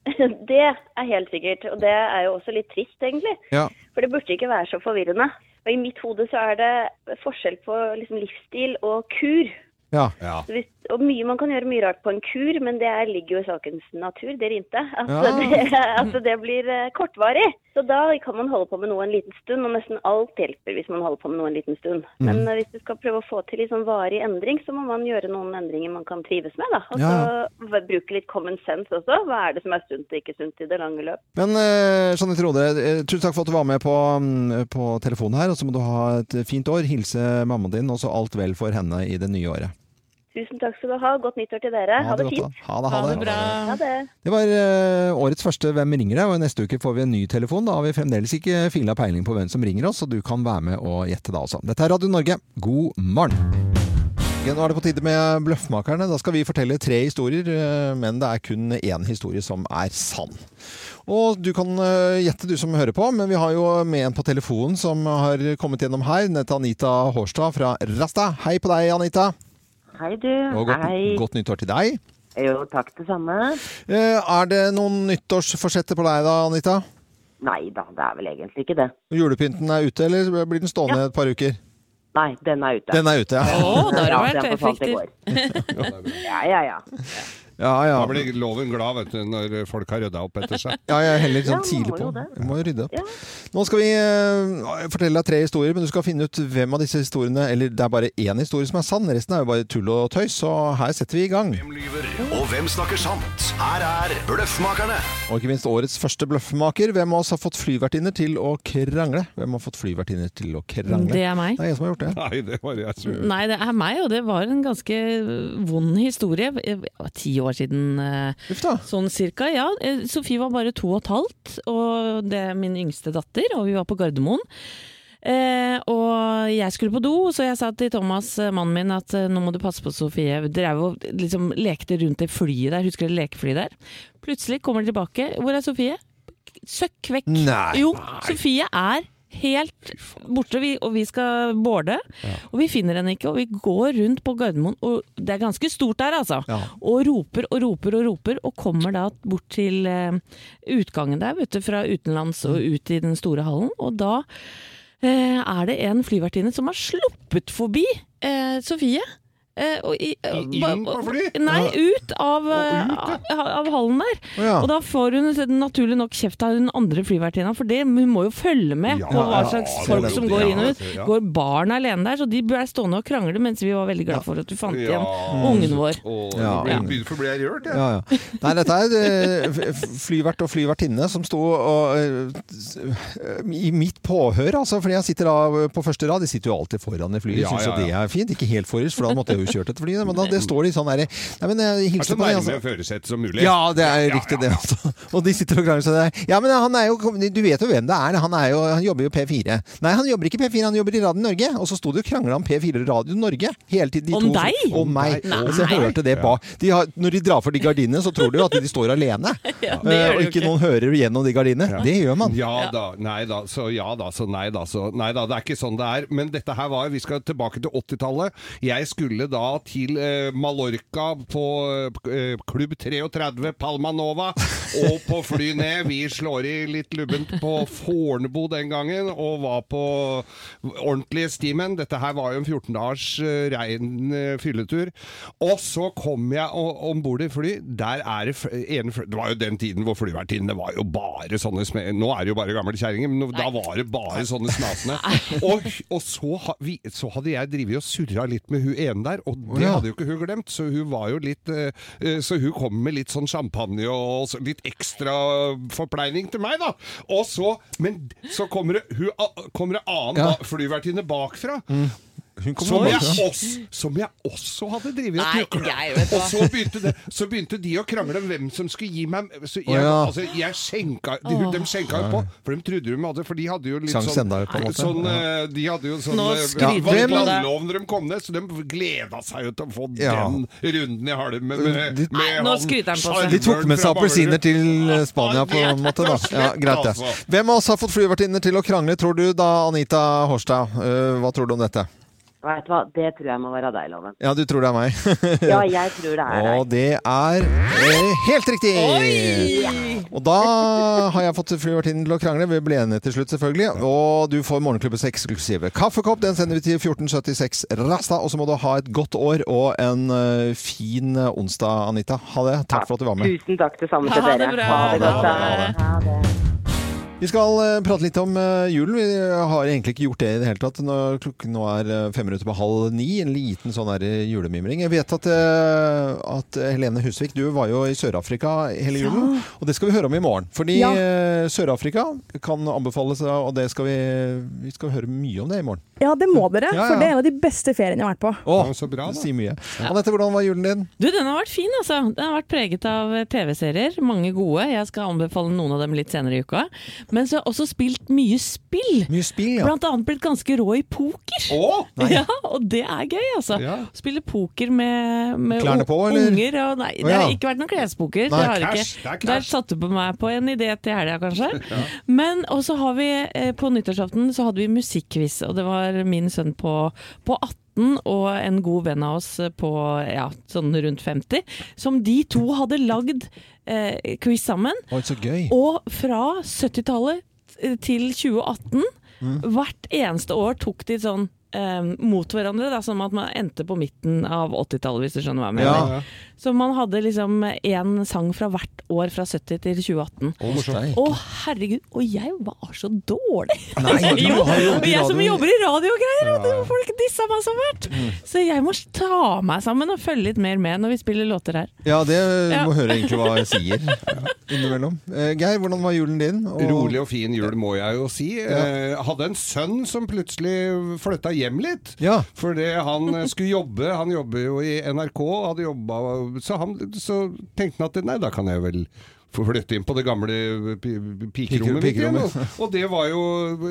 Speaker 8: Det er helt sikkert, og det er jo også litt trist, egentlig.
Speaker 1: Ja.
Speaker 8: For det burde ikke være så forvirrende. Og i mitt hode så er det forskjell på liksom, livsstil og kur.
Speaker 1: Ja.
Speaker 2: Ja.
Speaker 8: Så hvis, og mye, Man kan gjøre mye rart på en kur, men det er, ligger jo i sakens natur. Det rimte. At,
Speaker 1: Ja.
Speaker 8: det, at det blir eh, kortvarig. Så da kan man holde på med noe en liten stund, og nesten alt hjelper hvis man holder på med noe en liten stund.
Speaker 1: Mm.
Speaker 8: Men eh, hvis du skal prøve å få til litt sånn varig endring, så må man gjøre noen endringer man kan trives med. da. Og
Speaker 1: Ja.
Speaker 8: så v- bruke litt common sense også. Hva er det som er sunt og ikke sunt i det lange løp?
Speaker 1: Men eh, Jeanette Rode, eh, tusen takk for at du var med på, mm, på telefonen her. Og så må du ha et fint år. Hilse mammaen din, og så alt vel for henne i det nye året.
Speaker 8: Tusen takk skal du ha. Godt nyttår til dere. Ha det
Speaker 1: godt,
Speaker 8: fint.
Speaker 1: da. Ha det,
Speaker 3: Ha
Speaker 1: ha
Speaker 3: det bra.
Speaker 8: Ha det.
Speaker 1: Det var eh, årets første Hvem ringer deg? Og neste uke får vi en ny telefon. Da har vi fremdeles ikke fila peiling på hvem som ringer oss, og du kan være med og gjette da også. Dette er Radio Norge, god morgen! Ok, Nå er det på tide med Bløffmakerne. Da skal vi fortelle tre historier, eh, men det er kun én historie som er sann. Og du kan eh, gjette, du som hører på, men vi har jo med en på telefonen som har kommet gjennom her. Hun heter Anita Hårstad fra Rasta. Hei på deg, Anita.
Speaker 6: Hei, du.
Speaker 1: Og godt,
Speaker 6: Hei.
Speaker 1: godt nyttår til deg.
Speaker 6: Jo, takk det samme.
Speaker 1: Eh, Er det noen nyttårsforsetter på deg da, Anita?
Speaker 6: Nei da, det er vel egentlig ikke det.
Speaker 1: Og Julepynten er ute, eller blir den stående et par uker?
Speaker 6: Nei, den er ute.
Speaker 1: Den er ute, ja.
Speaker 3: Å, da har
Speaker 6: Ja,
Speaker 3: du vært
Speaker 6: den forsvant i
Speaker 3: effektiv.
Speaker 6: går. Ja, ja, ja.
Speaker 1: ja, ja.
Speaker 2: Da blir loven glad, vet du, når folk har rydda opp etter seg.
Speaker 1: Ja, jeg er heller litt
Speaker 6: Ja,
Speaker 1: sånn
Speaker 6: man
Speaker 1: tidlig
Speaker 6: må
Speaker 1: på.
Speaker 6: jo det.
Speaker 1: Vi må jo rydde opp.
Speaker 6: Ja.
Speaker 1: Nå skal vi eh, fortelle deg tre historier, men du skal finne ut hvem av disse historiene Eller det er bare én historie som er sann, resten er jo bare tull og tøys, så her setter vi i gang.
Speaker 9: Hvem lyver, og hvem Hvem snakker sant? Her er Bløffmakerne.
Speaker 1: Og ikke minst årets første bløffmaker. Hvem av oss har fått flyvertinner til å krangle? Hvem har fått flyvertinner til å krangle?
Speaker 3: Det er meg.
Speaker 1: Det er jeg som har gjort det.
Speaker 2: Nei, det var jeg som gjorde.
Speaker 3: Nei, det er meg, og det var en ganske vond historie. Det var Ti år siden, eh,
Speaker 1: Uff da.
Speaker 3: sånn cirka. Ja, Eh, Sofie var bare to og et halvt, og det er min yngste datter, og vi var på Gardermoen. Eh, og jeg skulle på do, så jeg sa til Thomas, eh, mannen min, at eh, nå må du passe på Sofie. Vi drev og liksom lekte rundt det flyet der, husker dere lekeflyet der? Plutselig kommer de tilbake. Hvor er Sofie? Søkk vekk.
Speaker 1: Nei.
Speaker 3: Jo, Sofie er helt borte, vi, og vi skal boarde. Og vi finner henne ikke, og vi går rundt på Gardermoen, og det er ganske stort der, altså.
Speaker 1: Ja.
Speaker 3: Og roper og roper og roper, og kommer da bort til eh, utgangen der, vet du, fra utenlands og
Speaker 2: Mm.
Speaker 3: ut i den store hallen. Og da eh, er det en flyvertinne som har sluppet forbi eh, Sofie. Eh, og i, eh,
Speaker 2: I-
Speaker 3: ba-
Speaker 2: inn på fly?
Speaker 3: Nei, ut av, eh, av, av hallen der.
Speaker 1: Å, ja.
Speaker 3: Og da får hun naturlig nok kjeft av den andre flyvertinna, for det, hun må jo følge med
Speaker 2: Ja,
Speaker 3: på hva
Speaker 2: ja,
Speaker 3: slags
Speaker 2: det er
Speaker 3: folk
Speaker 2: jo
Speaker 3: som
Speaker 2: det,
Speaker 3: går
Speaker 2: ja,
Speaker 3: inn og ut.
Speaker 2: det er det, ja.
Speaker 3: Går barn alene der, så de ble stående og krangle mens vi var veldig glad for at du fant
Speaker 2: Ja.
Speaker 3: igjen ungen vår.
Speaker 2: Åh,
Speaker 1: Ja.
Speaker 2: nå ble- begynner for å bli jeg rørt, jeg.
Speaker 1: Ja, ja. Nei, dette er eh, f- flyvert og flyvertinne som sto og, eh, s- eh, i mitt påhør, altså. Fordi jeg sitter da på første rad. De sitter jo alltid foran i flyet.
Speaker 2: Ja,
Speaker 1: Syns jo
Speaker 2: ja,
Speaker 1: det
Speaker 2: ja.
Speaker 1: er fint. Ikke helt forrest, for da måtte jeg jo kjørt et fly. Men da det står de sånn der Nei, men jeg
Speaker 2: Er så
Speaker 1: hilser på deg,
Speaker 2: nærme
Speaker 1: altså.
Speaker 2: førersetet som mulig.
Speaker 1: Ja, det er
Speaker 2: Ja,
Speaker 1: riktig
Speaker 2: ja.
Speaker 1: det også. Og de sitter og krangler seg der. Ja, men han er jo Du vet jo hvem det er. Han, er jo, han jobber jo P4. Nei, han jobber ikke P4, han jobber i Radio Norge. Og så sto de og krangla om P4 Radio Norge hele tiden. de
Speaker 3: Om
Speaker 1: to som-
Speaker 3: deg?
Speaker 1: Om meg.
Speaker 3: Nei.
Speaker 1: Og så jeg hørte det bak. De har, når de drar for de gardinene, så tror du jo at de står alene.
Speaker 3: Ja, det
Speaker 1: Eh,
Speaker 3: gjør
Speaker 1: og
Speaker 3: de
Speaker 1: ikke
Speaker 3: jo ikke.
Speaker 1: noen hører gjennom de gardinene. Det gjør man.
Speaker 2: Ja da, nei da, så ja da, så nei da, så nei da. Det er ikke sånn det er. Men dette her var Vi skal tilbake til 80-tallet. Jeg skulle da til eh, Mallorca på eh, klubb 33 Palma Nova, og på fly ned. Vi slår i litt lubbent på Fornebu den gangen, og var på ordentlige stimen. Dette her var jo en 14 dagers eh, rein eh, fylletur. Og så kom jeg o- om bord i fly. Der er det f- en fly, Det var jo den tiden hvor flyvertinnene var jo bare sånne sme... Nå er det jo bare gamle kjerringer, men nå- da var det bare sånne snasende. Og, og så, ha, vi, så hadde jeg drevet og surra litt med hun ene der, og det
Speaker 1: Ja.
Speaker 2: hadde jo ikke hun glemt, så hun var jo litt eh, eh, Så hun kom med litt sånn champagne og så litt ekstra forpleining til meg, da. Og så Men så kommer det hun a- kommer det annen
Speaker 1: Ja.
Speaker 2: ba- flyvertinne bakfra.
Speaker 1: Hun kommer
Speaker 2: Som jeg,
Speaker 1: bakfra.
Speaker 2: også, som jeg også hadde drevet
Speaker 3: Nei,
Speaker 2: og krangla.
Speaker 3: jeg vet hva.
Speaker 2: Og så begynte, det, så begynte de å krangle om hvem som skulle gi meg så
Speaker 1: Å,
Speaker 2: jeg,
Speaker 1: ja.
Speaker 2: altså, jeg skjenka, de, de skjenka jo på, for de trodde de hadde For de hadde jo litt
Speaker 1: Sankt
Speaker 2: sånn,
Speaker 1: Stendal, på en måte.
Speaker 2: sånn eh, De hadde jo sånn
Speaker 3: Nå
Speaker 2: eh,
Speaker 3: skryter
Speaker 2: det
Speaker 1: du
Speaker 2: var
Speaker 1: på deg.
Speaker 2: landlov når de kom ned, så de gleda seg jo til å få
Speaker 1: Ja.
Speaker 2: den runden i halmen med, med,
Speaker 1: De-
Speaker 3: Nei, nå skryter han på seg.
Speaker 1: De tok med seg
Speaker 2: fra Barnerud.
Speaker 1: appelsiner til eh, Spania på en måte, da. Ja, greit det.
Speaker 2: Altså.
Speaker 1: Hvem av oss har fått flyvertinner til å krangle, tror du da, Anita Horstad? Eh, Hva tror du om dette?
Speaker 6: Veit du hva, det tror jeg må være deg, Loven.
Speaker 1: Ja, du tror det er meg.
Speaker 6: Ja, jeg tror det er
Speaker 1: Og
Speaker 6: deg.
Speaker 1: det er eh, helt riktig! Og da har jeg fått flyvertinnen til å krangle. Vi ble enige til slutt, selvfølgelig. Og du får morgenklubbens eksklusive kaffekopp. Den sender vi til 1476 Rasta. Og så må du ha et godt år og en eh, fin onsdag, Anita. Ha det. Takk for at du var med.
Speaker 6: Tusen takk det samme til
Speaker 3: Ha det
Speaker 6: dere.
Speaker 3: bra.
Speaker 6: godt, da.
Speaker 1: Ha det.
Speaker 6: Ha det.
Speaker 1: Vi skal eh, prate litt om eh, julen. Vi har egentlig ikke gjort det i det hele tatt. Nå, klokken nå er eh, fem minutter på halv ni. En liten sånn der eh, julemimring. Jeg vet at, eh, at Helene Husvik, du var jo i Sør-Afrika hele julen. Og det skal vi høre om i morgen. Fordi
Speaker 3: Ja.
Speaker 1: eh, Sør-Afrika kan anbefales, eh, og det skal vi, vi skal høre mye om det i morgen.
Speaker 10: Ja, det må dere,
Speaker 1: Ja, ja.
Speaker 10: for det er en av de beste feriene jeg har vært på.
Speaker 1: Å,
Speaker 2: Ja, så bra, da.
Speaker 1: Si mye. Anette, hvordan var julen din?
Speaker 3: Du, den har vært fin, altså. Den har vært preget av eh, TV-serier, mange gode. Jeg skal anbefale noen av dem litt senere i uka. Men så har jeg også spilt mye spill.
Speaker 1: Mye spill, ja.
Speaker 3: Blant annet blitt ganske rå i poker.
Speaker 2: Å!
Speaker 3: Ja, og det er gøy, altså.
Speaker 2: Ja.
Speaker 3: Spille poker med, med
Speaker 1: Klærne
Speaker 3: un-
Speaker 1: på, eller?
Speaker 3: unger. Og nei,
Speaker 1: Å,
Speaker 3: det
Speaker 1: ja.
Speaker 3: har ikke vært noen klespoker.
Speaker 1: Nei,
Speaker 3: det har det
Speaker 2: cash,
Speaker 3: ikke.
Speaker 2: det er
Speaker 3: Der
Speaker 2: cash.
Speaker 3: satte du på meg på en idé til helga, kanskje. Men og så har vi eh, på nyttårsaften så hadde vi musikkquiz, og det var min sønn på, på 18. Og en god venn av oss på ja, sånn rundt 50, som de to hadde lagd eh, quiz sammen.
Speaker 1: Oi, så gøy.
Speaker 3: Og eh,
Speaker 1: Mm.
Speaker 3: fra 70-tallet til 2018, hvert eneste år tok de sånn eh, mot hverandre, da, som at man endte på midten av 80-tallet, hvis du skjønner hva jeg
Speaker 1: Ja.
Speaker 3: mener. Så man hadde liksom én sang fra hvert år fra 70 til 2018.
Speaker 1: Å, morsomt.
Speaker 3: Å herregud, og jeg var så dårlig!
Speaker 1: Nei, du
Speaker 3: jo,
Speaker 1: har jo
Speaker 3: og jeg som
Speaker 1: radio-
Speaker 3: jobber i radio og greier, og
Speaker 1: Ja, ja. Mm.
Speaker 3: det- folk dissa meg som hvert! Så jeg må ta meg sammen og følge litt mer med når vi spiller låter her.
Speaker 1: Ja, det
Speaker 3: Ja.
Speaker 1: må høre egentlig hva jeg sier innimellom. Eh, Geir, hvordan var julen din?
Speaker 2: Rolig og fin jul, må jeg jo si. Eh, hadde en sønn som plutselig flytta hjem litt. Fordi han eh, skulle jobbe, han jobber jo i NRK, hadde jobba, så, han, så tenkte han at nei, da kan jeg vel få flytte inn på det gamle pi- pikerommet. mitt igjen.
Speaker 1: pikerommet.
Speaker 2: Og- Og det var jo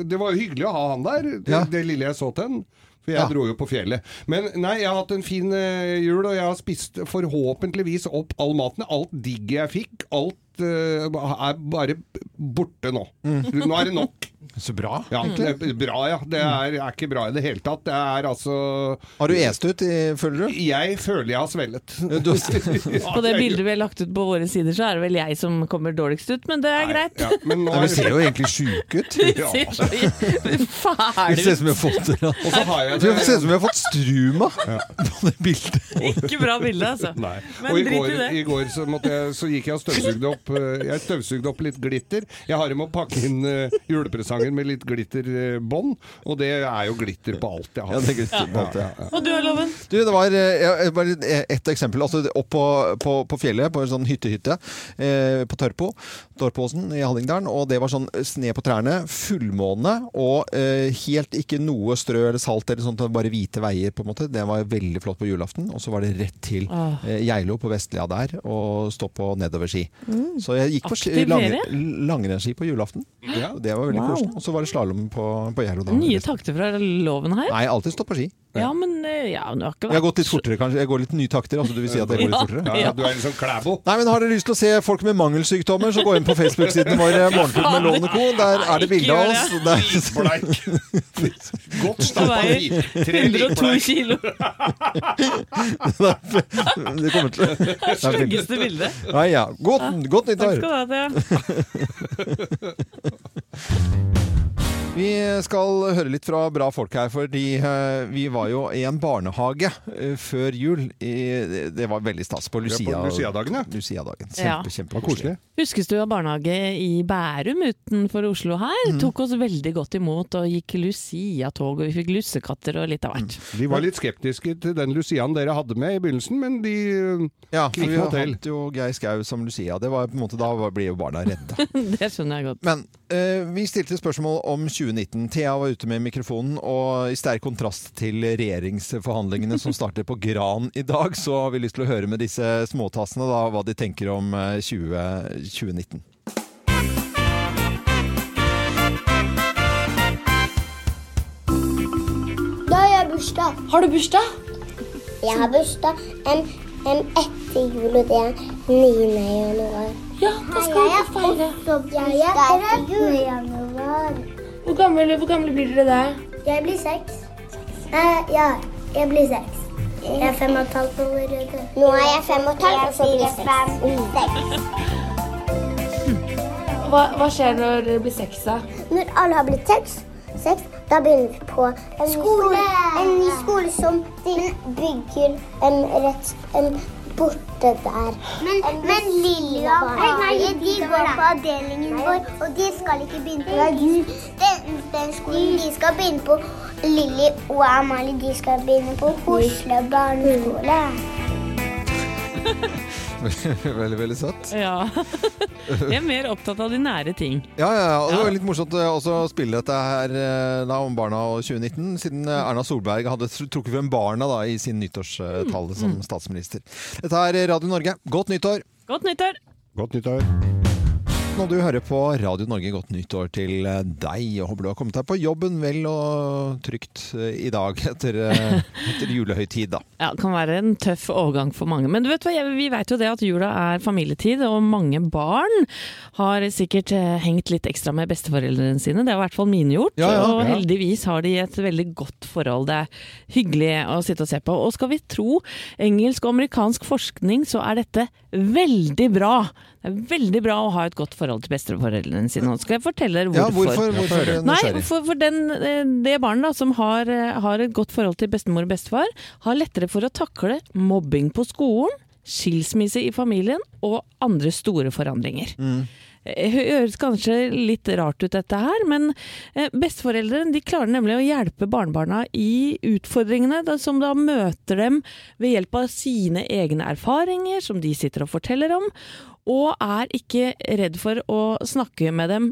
Speaker 2: det var jo hyggelig å ha han der, det,
Speaker 1: Ja.
Speaker 2: det lille jeg så til han. For jeg
Speaker 1: Ja.
Speaker 2: dro jo på fjellet. Men nei, jeg har hatt en fin eh, jul, og jeg har spist forhåpentligvis opp all maten. Alt digg jeg fikk. Alt eh, er bare borte nå.
Speaker 1: Mm.
Speaker 2: Nå er det nok.
Speaker 1: Så bra.
Speaker 2: Ja, det
Speaker 1: egentlig.
Speaker 2: er bra, ja. Det
Speaker 1: Mm.
Speaker 2: er, er ikke bra i det hele tatt. Det er altså
Speaker 1: Har du est ut, i- føler du?
Speaker 2: Jeg føler jeg har svellet.
Speaker 1: Du har-
Speaker 3: På det bildet vi har lagt ut på våre sider, så er det vel jeg som kommer dårligst ut, men det er greit.
Speaker 2: Ja, men nå
Speaker 1: Nei, vi
Speaker 2: er det-
Speaker 1: ser jo egentlig sjuke ut.
Speaker 2: Ja.
Speaker 3: Ser så
Speaker 1: Vi
Speaker 3: fæle
Speaker 1: ser ut
Speaker 3: ut.
Speaker 1: som vi har fått
Speaker 2: Og så har jeg
Speaker 1: Vi ser ut som vi har fått struma på det bildet.
Speaker 3: Ikke bra bilde, altså.
Speaker 2: Nei.
Speaker 3: Men
Speaker 2: og i
Speaker 3: drit i
Speaker 2: går,
Speaker 3: det.
Speaker 2: i går så, måtte jeg, så gikk jeg og støvsugde opp eh, Jeg støvsugde opp litt glitter. Jeg har med å pakke inn eh, julepresangen med litt glitterbånd, og det er jo glitter på alt jeg har.
Speaker 1: Ja, det er glitter på alt, ja.
Speaker 3: Og du har loven?
Speaker 1: Du, det var eh, ja, bare ett eksempel. Altså, opp på, på, på fjellet, på en sånn hyttehytte eh, på Tørpo, Torpåsen i Hallingdalen. Og det var sånn sne på trærne, fullmåne og eh, helt ikke noe strø eller salt eller sånt, det var bare hvite veier, på en måte. Det var veldig flott på julaften. Og så var det rett til
Speaker 3: Åh.
Speaker 1: eh, Geilo på Vestlia der og stå på nedoverski. Så jeg gikk på ski-
Speaker 3: Mm. Aktiv
Speaker 1: lang,
Speaker 3: ferie.
Speaker 1: langrennsski på julaften.
Speaker 2: Ja.
Speaker 1: Og det var veldig
Speaker 3: Wow.
Speaker 1: koselig. Og så var det slalåm på, på Geilo da.
Speaker 3: Nye takter fra loven her.
Speaker 1: Nei, alltid stå på ski.
Speaker 3: Ja, men eh, ja, du har ikke
Speaker 1: Jeg har gått litt fortere, kanskje. Jeg går litt nye takter. Altså, du vil si at jeg går litt
Speaker 3: Ja.
Speaker 1: fortere?
Speaker 2: Ja, ja, du er liksom Klæbo.
Speaker 1: Nei, men Har dere lyst til å se folk med mangelsykdommer, så gå inn på Facebook-siden vår eh, Morgenklubben med Lovende Co. Der er det bilde av oss. Der.
Speaker 2: Bleik. Godt stampa
Speaker 3: Veier
Speaker 2: hvit. Tre
Speaker 3: 102
Speaker 2: hvitbleik.
Speaker 3: kilo,
Speaker 1: Det kommer til det er veldig-
Speaker 3: styggeste bildet.
Speaker 1: Nei, ja. Godt, godt
Speaker 3: Takk
Speaker 1: nyttår!
Speaker 3: skal du ha, Thea.
Speaker 1: Vi skal høre litt fra bra folk her, fordi eh, vi var jo i en barnehage eh, før jul. I, det var veldig stas på Lucia.
Speaker 2: Ja, på Lucia-dagen, ja.
Speaker 1: Lucia-dagen.
Speaker 3: Ja.
Speaker 1: Kjempe, kjempekoselig.
Speaker 3: Huskestua barnehage i Bærum utenfor Oslo her
Speaker 1: Mhm.
Speaker 3: tok oss veldig godt imot og gikk Lucia-tog og vi fikk lussekatter og litt av hvert.
Speaker 2: Vi var litt skeptiske til den Lucian dere hadde med i begynnelsen, men de eh,
Speaker 1: Ja, for
Speaker 2: Kvikk
Speaker 1: vi
Speaker 2: hotell.
Speaker 1: hadde jo Geir Skau som Lucia. Det var på en måte, da blir jo barna redde.
Speaker 3: Det skjønner jeg godt.
Speaker 1: Men eh, vi stilte spørsmål om 2019. Thea var ute med mikrofonen, og i sterk kontrast til regjeringsforhandlingene som starter på Gran i dag, så har vi lyst til å høre med disse småtassene da, hva de tenker om eh, 20, 2019.
Speaker 11: Da har jeg bursdag. Har du bursdag? Jeg har bursdag en, en etter jul, og det er 9. januar.
Speaker 12: Ja, hva skal dere feire?
Speaker 11: Jeg er etter jul. januar.
Speaker 12: Hvor gammel, hvor gammel blir dere da?
Speaker 11: Jeg blir seks. Eh, ja, jeg blir seks. Jeg er fem og et halvt år. Nå er jeg fem og et halvt, og så blir jeg seks.
Speaker 12: Hva, hva skjer når dere blir seks da?
Speaker 11: Når alle har blitt seks, seks da begynner vi på en skole. En ny skole som de bygger em, rett em, borte der. Men, men Lilja og Terje de går på avdelingen vår, og de skal ikke begynne på den, den, den skolen. De skal begynne på Lilly og Amalie. De skal begynne på Oslo barneskole.
Speaker 1: veldig, veldig søtt.
Speaker 3: Ja. Jeg er mer opptatt av de nære ting.
Speaker 1: Ja, ja, ja, og det var litt morsomt eh, også å spille dette her eh, da, om barna og 2019, siden eh, Erna Solberg hadde tr- trukket frem barna da, i sin nyttårstale som statsminister. Dette er Radio Norge. Godt nyttår!
Speaker 3: Godt nyttår!
Speaker 2: Godt nyttår.
Speaker 1: Når du hører på Radio Norge, godt nyttår til eh, deg. Jeg håper du har kommet deg på jobben vel og trygt eh, i dag etter, eh, etter julehøytid, da.
Speaker 3: Ja, det kan være en tøff overgang for mange. Men du vet hva, jeg- vi vet jo det at jula er familietid, og mange barn har sikkert eh, hengt litt ekstra med besteforeldrene sine. Det har i hvert fall mine gjort.
Speaker 13: Ja, ja,
Speaker 3: og
Speaker 13: ja.
Speaker 3: heldigvis har de et veldig godt forhold. Det er hyggelig å sitte og se på. Og skal vi tro engelsk og amerikansk forskning, så er dette veldig bra. Det er veldig bra å ha et godt forhold til besteforeldrene sine. Og så skal jeg fortelle dere
Speaker 1: Ja,
Speaker 3: hvorfor.
Speaker 1: hvorfor- hvorfor er du
Speaker 3: Nei,
Speaker 1: nysgjerrig?
Speaker 3: for, for den, eh, det barnet da, som har, eh, har et godt forhold til bestemor og bestefar, har lettere for å takle mobbing på skolen, skilsmisse i familien og andre store forandringer.
Speaker 1: Mm.
Speaker 3: Det høres kanskje litt rart ut dette her, men eh, besteforeldrene de klarer nemlig å hjelpe barnebarna i utfordringene da, som da møter dem ved hjelp av sine egne erfaringer som de sitter og forteller om, og er ikke redd for å snakke med dem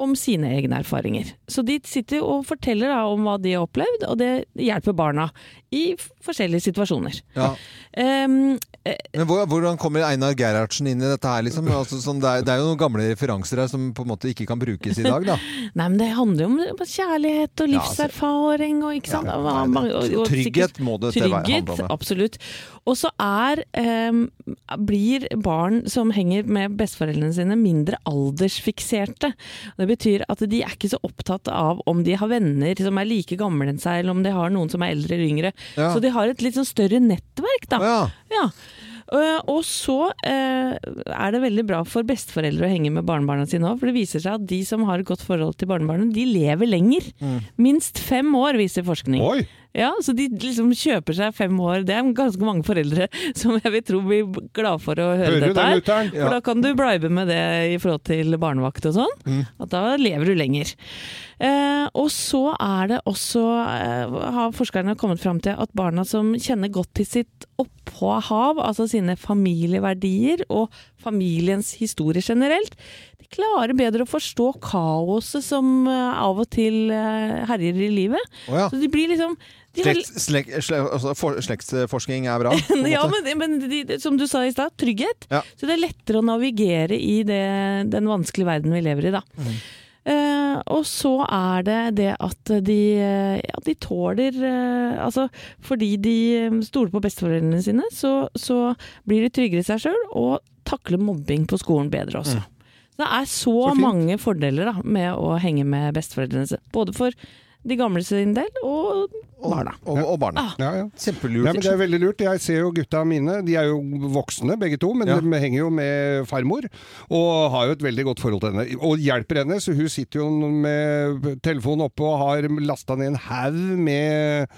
Speaker 3: om sine egne erfaringer. Så de sitter og forteller da, om hva de har opplevd, og det hjelper barna i f- forskjellige situasjoner.
Speaker 1: Ja.
Speaker 3: Em, eh,
Speaker 1: Men hvor- hvordan kommer Einar Gerhardsen inn i dette her, liksom? Altså, sånn, det, er, det er jo noen gamle referanser her som på en måte ikke kan brukes i dag, da.
Speaker 3: Nei, men det handler jo om kjærlighet og
Speaker 1: Ja, altså-
Speaker 3: livserfaring og ikke sant. Og mange- og- og
Speaker 1: Trygghet
Speaker 3: sikkert-
Speaker 1: må det til å være- handle om,
Speaker 3: Trygghet,
Speaker 1: ja.
Speaker 3: absolutt. Og så er em, blir barn som henger med besteforeldrene sine mindre aldersfikserte. Det betyr at de er ikke så opptatt av om de har venner som er like gamle enn seg, eller om de har noen som er eldre eller yngre.
Speaker 13: Ja.
Speaker 3: Så de har et litt sånn større nettverk, da.
Speaker 1: Ja.
Speaker 3: Eh, og så eh, er det veldig bra for besteforeldre å henge med barnebarna sine òg, for det viser seg at de som har et godt forhold til barnebarna, de lever lenger.
Speaker 13: Mm.
Speaker 3: Minst fem år, viser forskning.
Speaker 13: Oi!
Speaker 3: Ja, Så de liksom kjøper seg fem år. Det er ganske mange foreldre som jeg vil tro blir glad for å høre
Speaker 13: Hører du
Speaker 3: dette
Speaker 13: det,
Speaker 3: her.
Speaker 13: mutter'n? Ja.
Speaker 3: For da kan du bribe med det i forhold til barnevakt og sånn.
Speaker 13: Mm.
Speaker 3: At da lever du lenger. Eh, og så er det også eh, har forskerne kommet fram til at barna som kjenner godt til sitt opphav, altså sine familieverdier og familiens historie generelt, de klarer bedre å forstå kaoset som eh, av og til eh, herjer i livet.
Speaker 1: Å ja.
Speaker 3: Så de blir liksom de har-
Speaker 1: Slekt, slek, slek, altså, for, slektsforskning er bra. på en måte.
Speaker 3: ja, men, men de, de- som du sa i stad, trygghet.
Speaker 1: Ja.
Speaker 3: Så det er lettere å navigere i det, den vanskelige verden vi lever i, da.
Speaker 1: Mm.
Speaker 3: Eh, og så er det det at de, eh, ja, de tåler eh, Altså fordi de eh, stoler på besteforeldrene sine, så, så blir de tryggere i seg sjøl og takler mobbing på skolen bedre
Speaker 1: Mm.
Speaker 3: også. Så det er så,
Speaker 13: Så fint.
Speaker 3: mange fordeler da, med å henge med besteforeldrene sine. Både for de gamle sin del og barna.
Speaker 1: Og, og barna.
Speaker 2: Ja, ja.
Speaker 1: Kjempelurt.
Speaker 2: Ja, men det er veldig lurt. Jeg ser jo gutta mine, de er jo voksne begge to, men
Speaker 1: Ja.
Speaker 2: de henger jo med farmor. Og har jo et veldig godt forhold til henne. Og hjelper henne, så hun sitter jo med telefonen oppe og har lasta ned en haug med,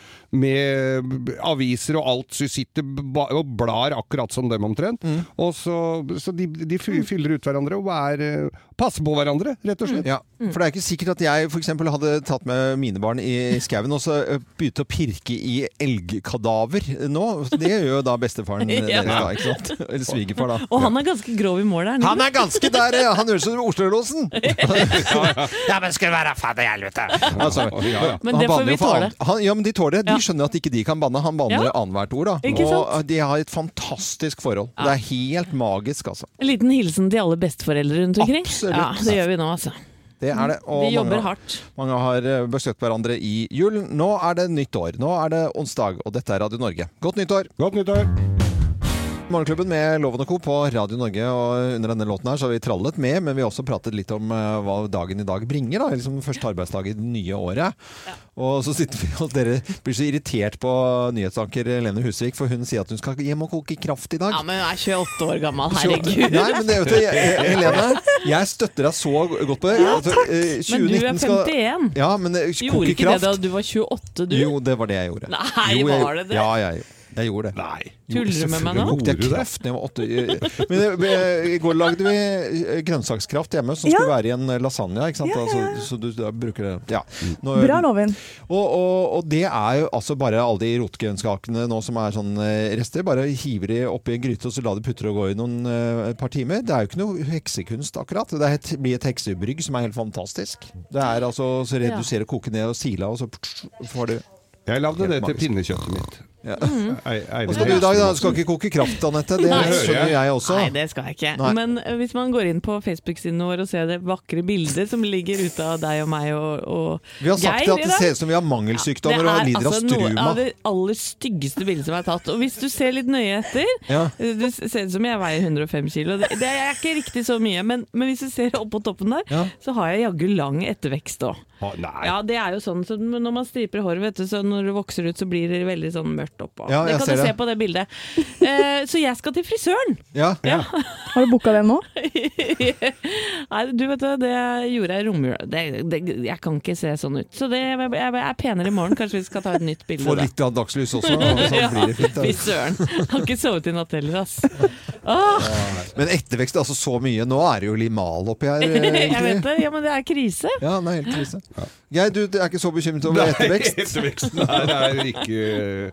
Speaker 2: med aviser og alt. Så hun sitter ba- og blar akkurat som dem omtrent. Og så, så de, de fy- fyller ut hverandre og er, eh, passer på hverandre, rett og slett.
Speaker 1: Ja,
Speaker 3: Mm.
Speaker 1: for det er ikke sikkert at jeg for eksempel, hadde tatt med mine barn i skauen og så eh, begynte å pirke i elgkadaver nå. Det gjør jo da bestefaren
Speaker 3: Ja.
Speaker 1: deres, da. ikke sant? Eller svigerfar, da.
Speaker 3: Og han er ganske grov i målet. er
Speaker 1: Han
Speaker 3: ikke
Speaker 1: er ganske der, eh, han høres ut som Oslo-losen! ja, men skal være fader i helvete! Altså,
Speaker 2: ja, ja.
Speaker 3: Men
Speaker 1: han
Speaker 3: det får
Speaker 1: banner
Speaker 3: vi
Speaker 1: jo for
Speaker 3: tåle.
Speaker 1: annet- Han, ja, men de tåler det. De skjønner at ikke de kan banne. Han banner
Speaker 3: Ja.
Speaker 1: annethvert ord, da.
Speaker 3: Ikke
Speaker 1: Og
Speaker 3: sant?
Speaker 1: eh, de har et fantastisk forhold. Det er helt magisk, altså.
Speaker 3: En liten hilsen til alle besteforeldre rundt omkring.
Speaker 1: Absolutt.
Speaker 3: Ja, det gjør vi nå, altså.
Speaker 1: Det er det. Og
Speaker 3: Vi jobber
Speaker 1: mange, har-
Speaker 3: hardt.
Speaker 1: Mange har eh, besøkt hverandre i julen. Nå er det nytt år. Nå er det onsdag, og dette er Radio Norge. Godt nytt år!
Speaker 2: Godt nytt år!
Speaker 1: Morgenklubben med Loven og Co. på Radio Norge, og under denne låten her så har vi trallet med, men vi har også pratet litt om eh, hva dagen i dag bringer, da. Liksom første arbeidsdag i det nye året. Og så sitter vi og dere blir så irritert på nyhetsanker Lene Husvik, for hun sier at hun skal hjem og koke kraft i dag.
Speaker 3: Ja, men hun er 28 år gammel,
Speaker 1: Så-
Speaker 3: herregud.
Speaker 1: Nei, men det, vet du, jeg- jeg- Helene, jeg støtter deg så godt på det.
Speaker 3: Ja,
Speaker 1: At, eh,
Speaker 3: takk. Men du er
Speaker 1: 2019 skal-
Speaker 3: 51.
Speaker 1: Ja, men eh,
Speaker 3: Gjorde
Speaker 1: koke
Speaker 3: ikke det
Speaker 1: kraft
Speaker 3: da du var 28, du?
Speaker 1: Jo, det var det jeg gjorde.
Speaker 3: Nei,
Speaker 1: jo, jeg,
Speaker 3: var det det?
Speaker 1: Ja, jeg, jeg gjorde det. Jo,
Speaker 3: Tuller du med meg
Speaker 1: selvfølgelig
Speaker 3: nå?
Speaker 1: kokte Jeg kraft når jeg var åtte. eh, Men eh, i går lagde vi eh, grønnsakskraft hjemme, som
Speaker 10: Ja.
Speaker 1: skulle være i en eh, lasagne. Ikke sant?
Speaker 10: Ja, ja, ja.
Speaker 1: Altså, så du da bruker det ja. Nå-
Speaker 10: Bra, Loven.
Speaker 1: og, og, og det er jo altså bare alle de rotgrønnsakene nå som er sånn eh, rester. Bare hiver de oppi en gryte og så lar de putre og gå i noen, eh, et par timer. Det er jo ikke noe heksekunst akkurat. Det er et, blir et heksebrygg som er helt fantastisk. Det er altså så redusere, koke ned og sile av, og så får du
Speaker 2: Jeg lagde det til pinnekjøttet mitt.
Speaker 1: Mm. Hva skal du i dag, da? Du skal ikke koke kraft, Anette. Det
Speaker 3: Nei.
Speaker 1: skjønner jeg også.
Speaker 3: Nei, det skal jeg ikke.
Speaker 1: Nei.
Speaker 3: Men eh, hvis man går inn på Facebook-siden vår og ser det vakre bildet som ligger ute av deg og meg og, og
Speaker 1: Vi har sagt
Speaker 3: Geir
Speaker 1: at det
Speaker 3: i dag.
Speaker 1: ser ut som vi har mangelsykdommer og lider av
Speaker 3: Det er altså noe
Speaker 1: struma.
Speaker 3: av det aller styggeste bildet som er tatt. Og hvis du ser litt nøye etter
Speaker 1: Ja.
Speaker 3: Det ser ut som jeg veier 105 kilo. Det det er ikke riktig så mye, men, men hvis du ser opp på toppen der,
Speaker 13: Ja.
Speaker 3: så har jeg jaggu lang ettervekst òg.
Speaker 2: Nei.
Speaker 3: Ja, det er jo sånn som når man striper hår, vet du, så når det vokser ut så blir det veldig sånn svart oppå.
Speaker 1: Ja,
Speaker 3: det
Speaker 1: jeg
Speaker 3: kan
Speaker 1: ser
Speaker 3: du se
Speaker 1: det.
Speaker 3: på det bildet. Eh, så jeg skal til frisøren.
Speaker 1: Ja.
Speaker 10: Har du booka den nå?
Speaker 3: Nei, du vet det, det gjorde jeg i romjula. Det- det- Jeg kan ikke se sånn ut. Så det, jeg, jeg er penere i morgen, kanskje vi skal ta et nytt bilde.
Speaker 1: Få
Speaker 3: da.
Speaker 1: litt av dagslys også, og så
Speaker 3: Ja,
Speaker 1: blir det fint. da.
Speaker 3: Fy søren. Har ikke sovet i natt heller, ass. Åh.
Speaker 1: Men ettervekst, altså så mye. Nå er det jo limal oppi her.
Speaker 3: Jeg
Speaker 1: egentlig.
Speaker 3: vet det, ja, men det er krise.
Speaker 1: Ja, det er helt krise. Geir, du er ikke så bekymret over ettervekst?
Speaker 2: etterveksten her er ikke,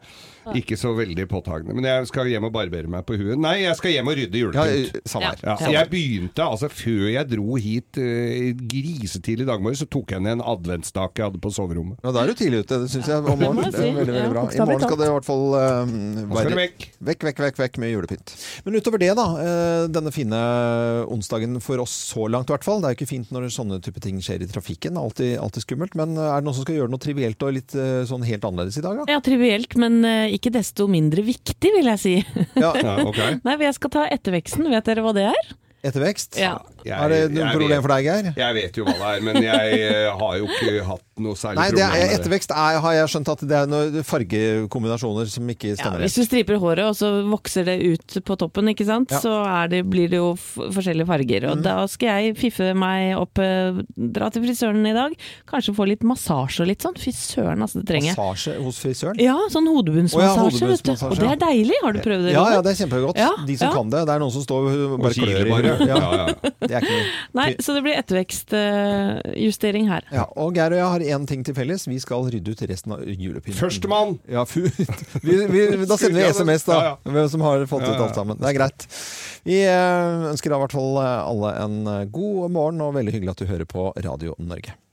Speaker 2: ikke så veldig påtagende. Men jeg skal hjem og barbere meg på huet. Nei, jeg skal hjem og rydde julepynt.
Speaker 1: Ja, samme her.
Speaker 2: Ja,
Speaker 1: Samme her.
Speaker 2: jeg begynte altså før jeg dro hit eh, grisetidlig i dag morges, så tok jeg ned en adventsstake jeg hadde på soverommet.
Speaker 1: Ja, Da er du tidlig ute, det syns jeg. Om
Speaker 2: Det må
Speaker 1: morgenen.
Speaker 2: jeg si.
Speaker 1: Det er veldig, veldig
Speaker 2: Ja.
Speaker 1: bra. I
Speaker 2: Bokstavelig
Speaker 1: morgen skal
Speaker 2: talt.
Speaker 1: det i hvert fall um,
Speaker 2: skal
Speaker 1: være
Speaker 2: det
Speaker 1: vekk. vekk, vekk, vekk, med julepynt. Men utover det, da. eh, Denne fine onsdagen for oss så langt, i hvert fall. Det er jo ikke fint når sånne type ting skjer i trafikken. Alltid, alltid skummelt. Men eh, er det noen som skal gjøre noe trivielt og litt eh, sånn helt annerledes i dag, da?
Speaker 3: Ja, trivielt, men eh, ikke desto mindre viktig, vil jeg si.
Speaker 1: Ja. Ja, ok.
Speaker 3: Nei, for jeg skal ta etterveksten. Vet dere hva det er?
Speaker 1: Ettervekst?
Speaker 3: Ja.
Speaker 1: Er det noe problem for deg, Geir?
Speaker 2: Jeg vet jo hva det er, men jeg eh, har jo ikke hatt noe særlig
Speaker 1: Nei, det
Speaker 2: problem
Speaker 1: er,
Speaker 2: med det.
Speaker 1: ettervekst er, har jeg skjønt at det er noen fargekombinasjoner som ikke
Speaker 3: Ja,
Speaker 1: stemmer.
Speaker 3: hvis du striper håret, og så vokser det ut på toppen, ikke sant?
Speaker 1: Ja.
Speaker 3: så er det, blir det jo f forskjellige farger. Og da skal jeg fiffe meg opp, eh, dra til frisøren i dag, kanskje få litt massasje og litt sånn. Fy søren, altså, det trenger jeg.
Speaker 1: Massasje hos frisøren?
Speaker 3: Ja, sånn hodebunnsmassasje, vet du.
Speaker 1: hodebunnsmassasje,
Speaker 3: Og det
Speaker 1: ja.
Speaker 3: er deilig, har du prøvd det?
Speaker 1: Ja,
Speaker 3: Robert?
Speaker 1: ja, det er kjempegodt.
Speaker 3: Ja,
Speaker 1: De som
Speaker 3: ja.
Speaker 1: kan det. Det er noen som står og
Speaker 2: Og
Speaker 1: bare
Speaker 2: kiler
Speaker 1: klør. i-
Speaker 2: bare.
Speaker 1: Ja.
Speaker 2: Ja, ja.
Speaker 1: Det er ikke noe.
Speaker 3: Nei, så det blir ettervekstjustering her.
Speaker 1: Ja, og Geir og jeg har én ting til felles. Vi skal rydde ut resten av julepynten.
Speaker 2: Førstemann!
Speaker 1: Ja, fu vi, vi, da sender vi SMS, da.
Speaker 2: Ja,
Speaker 1: Hvem som har fått
Speaker 2: Ja,
Speaker 1: ut
Speaker 2: ja.
Speaker 1: alt sammen. Det er greit. Vi eh, ønsker da i hvert fall alle en god morgen, og veldig hyggelig at du hører på Radio Norge.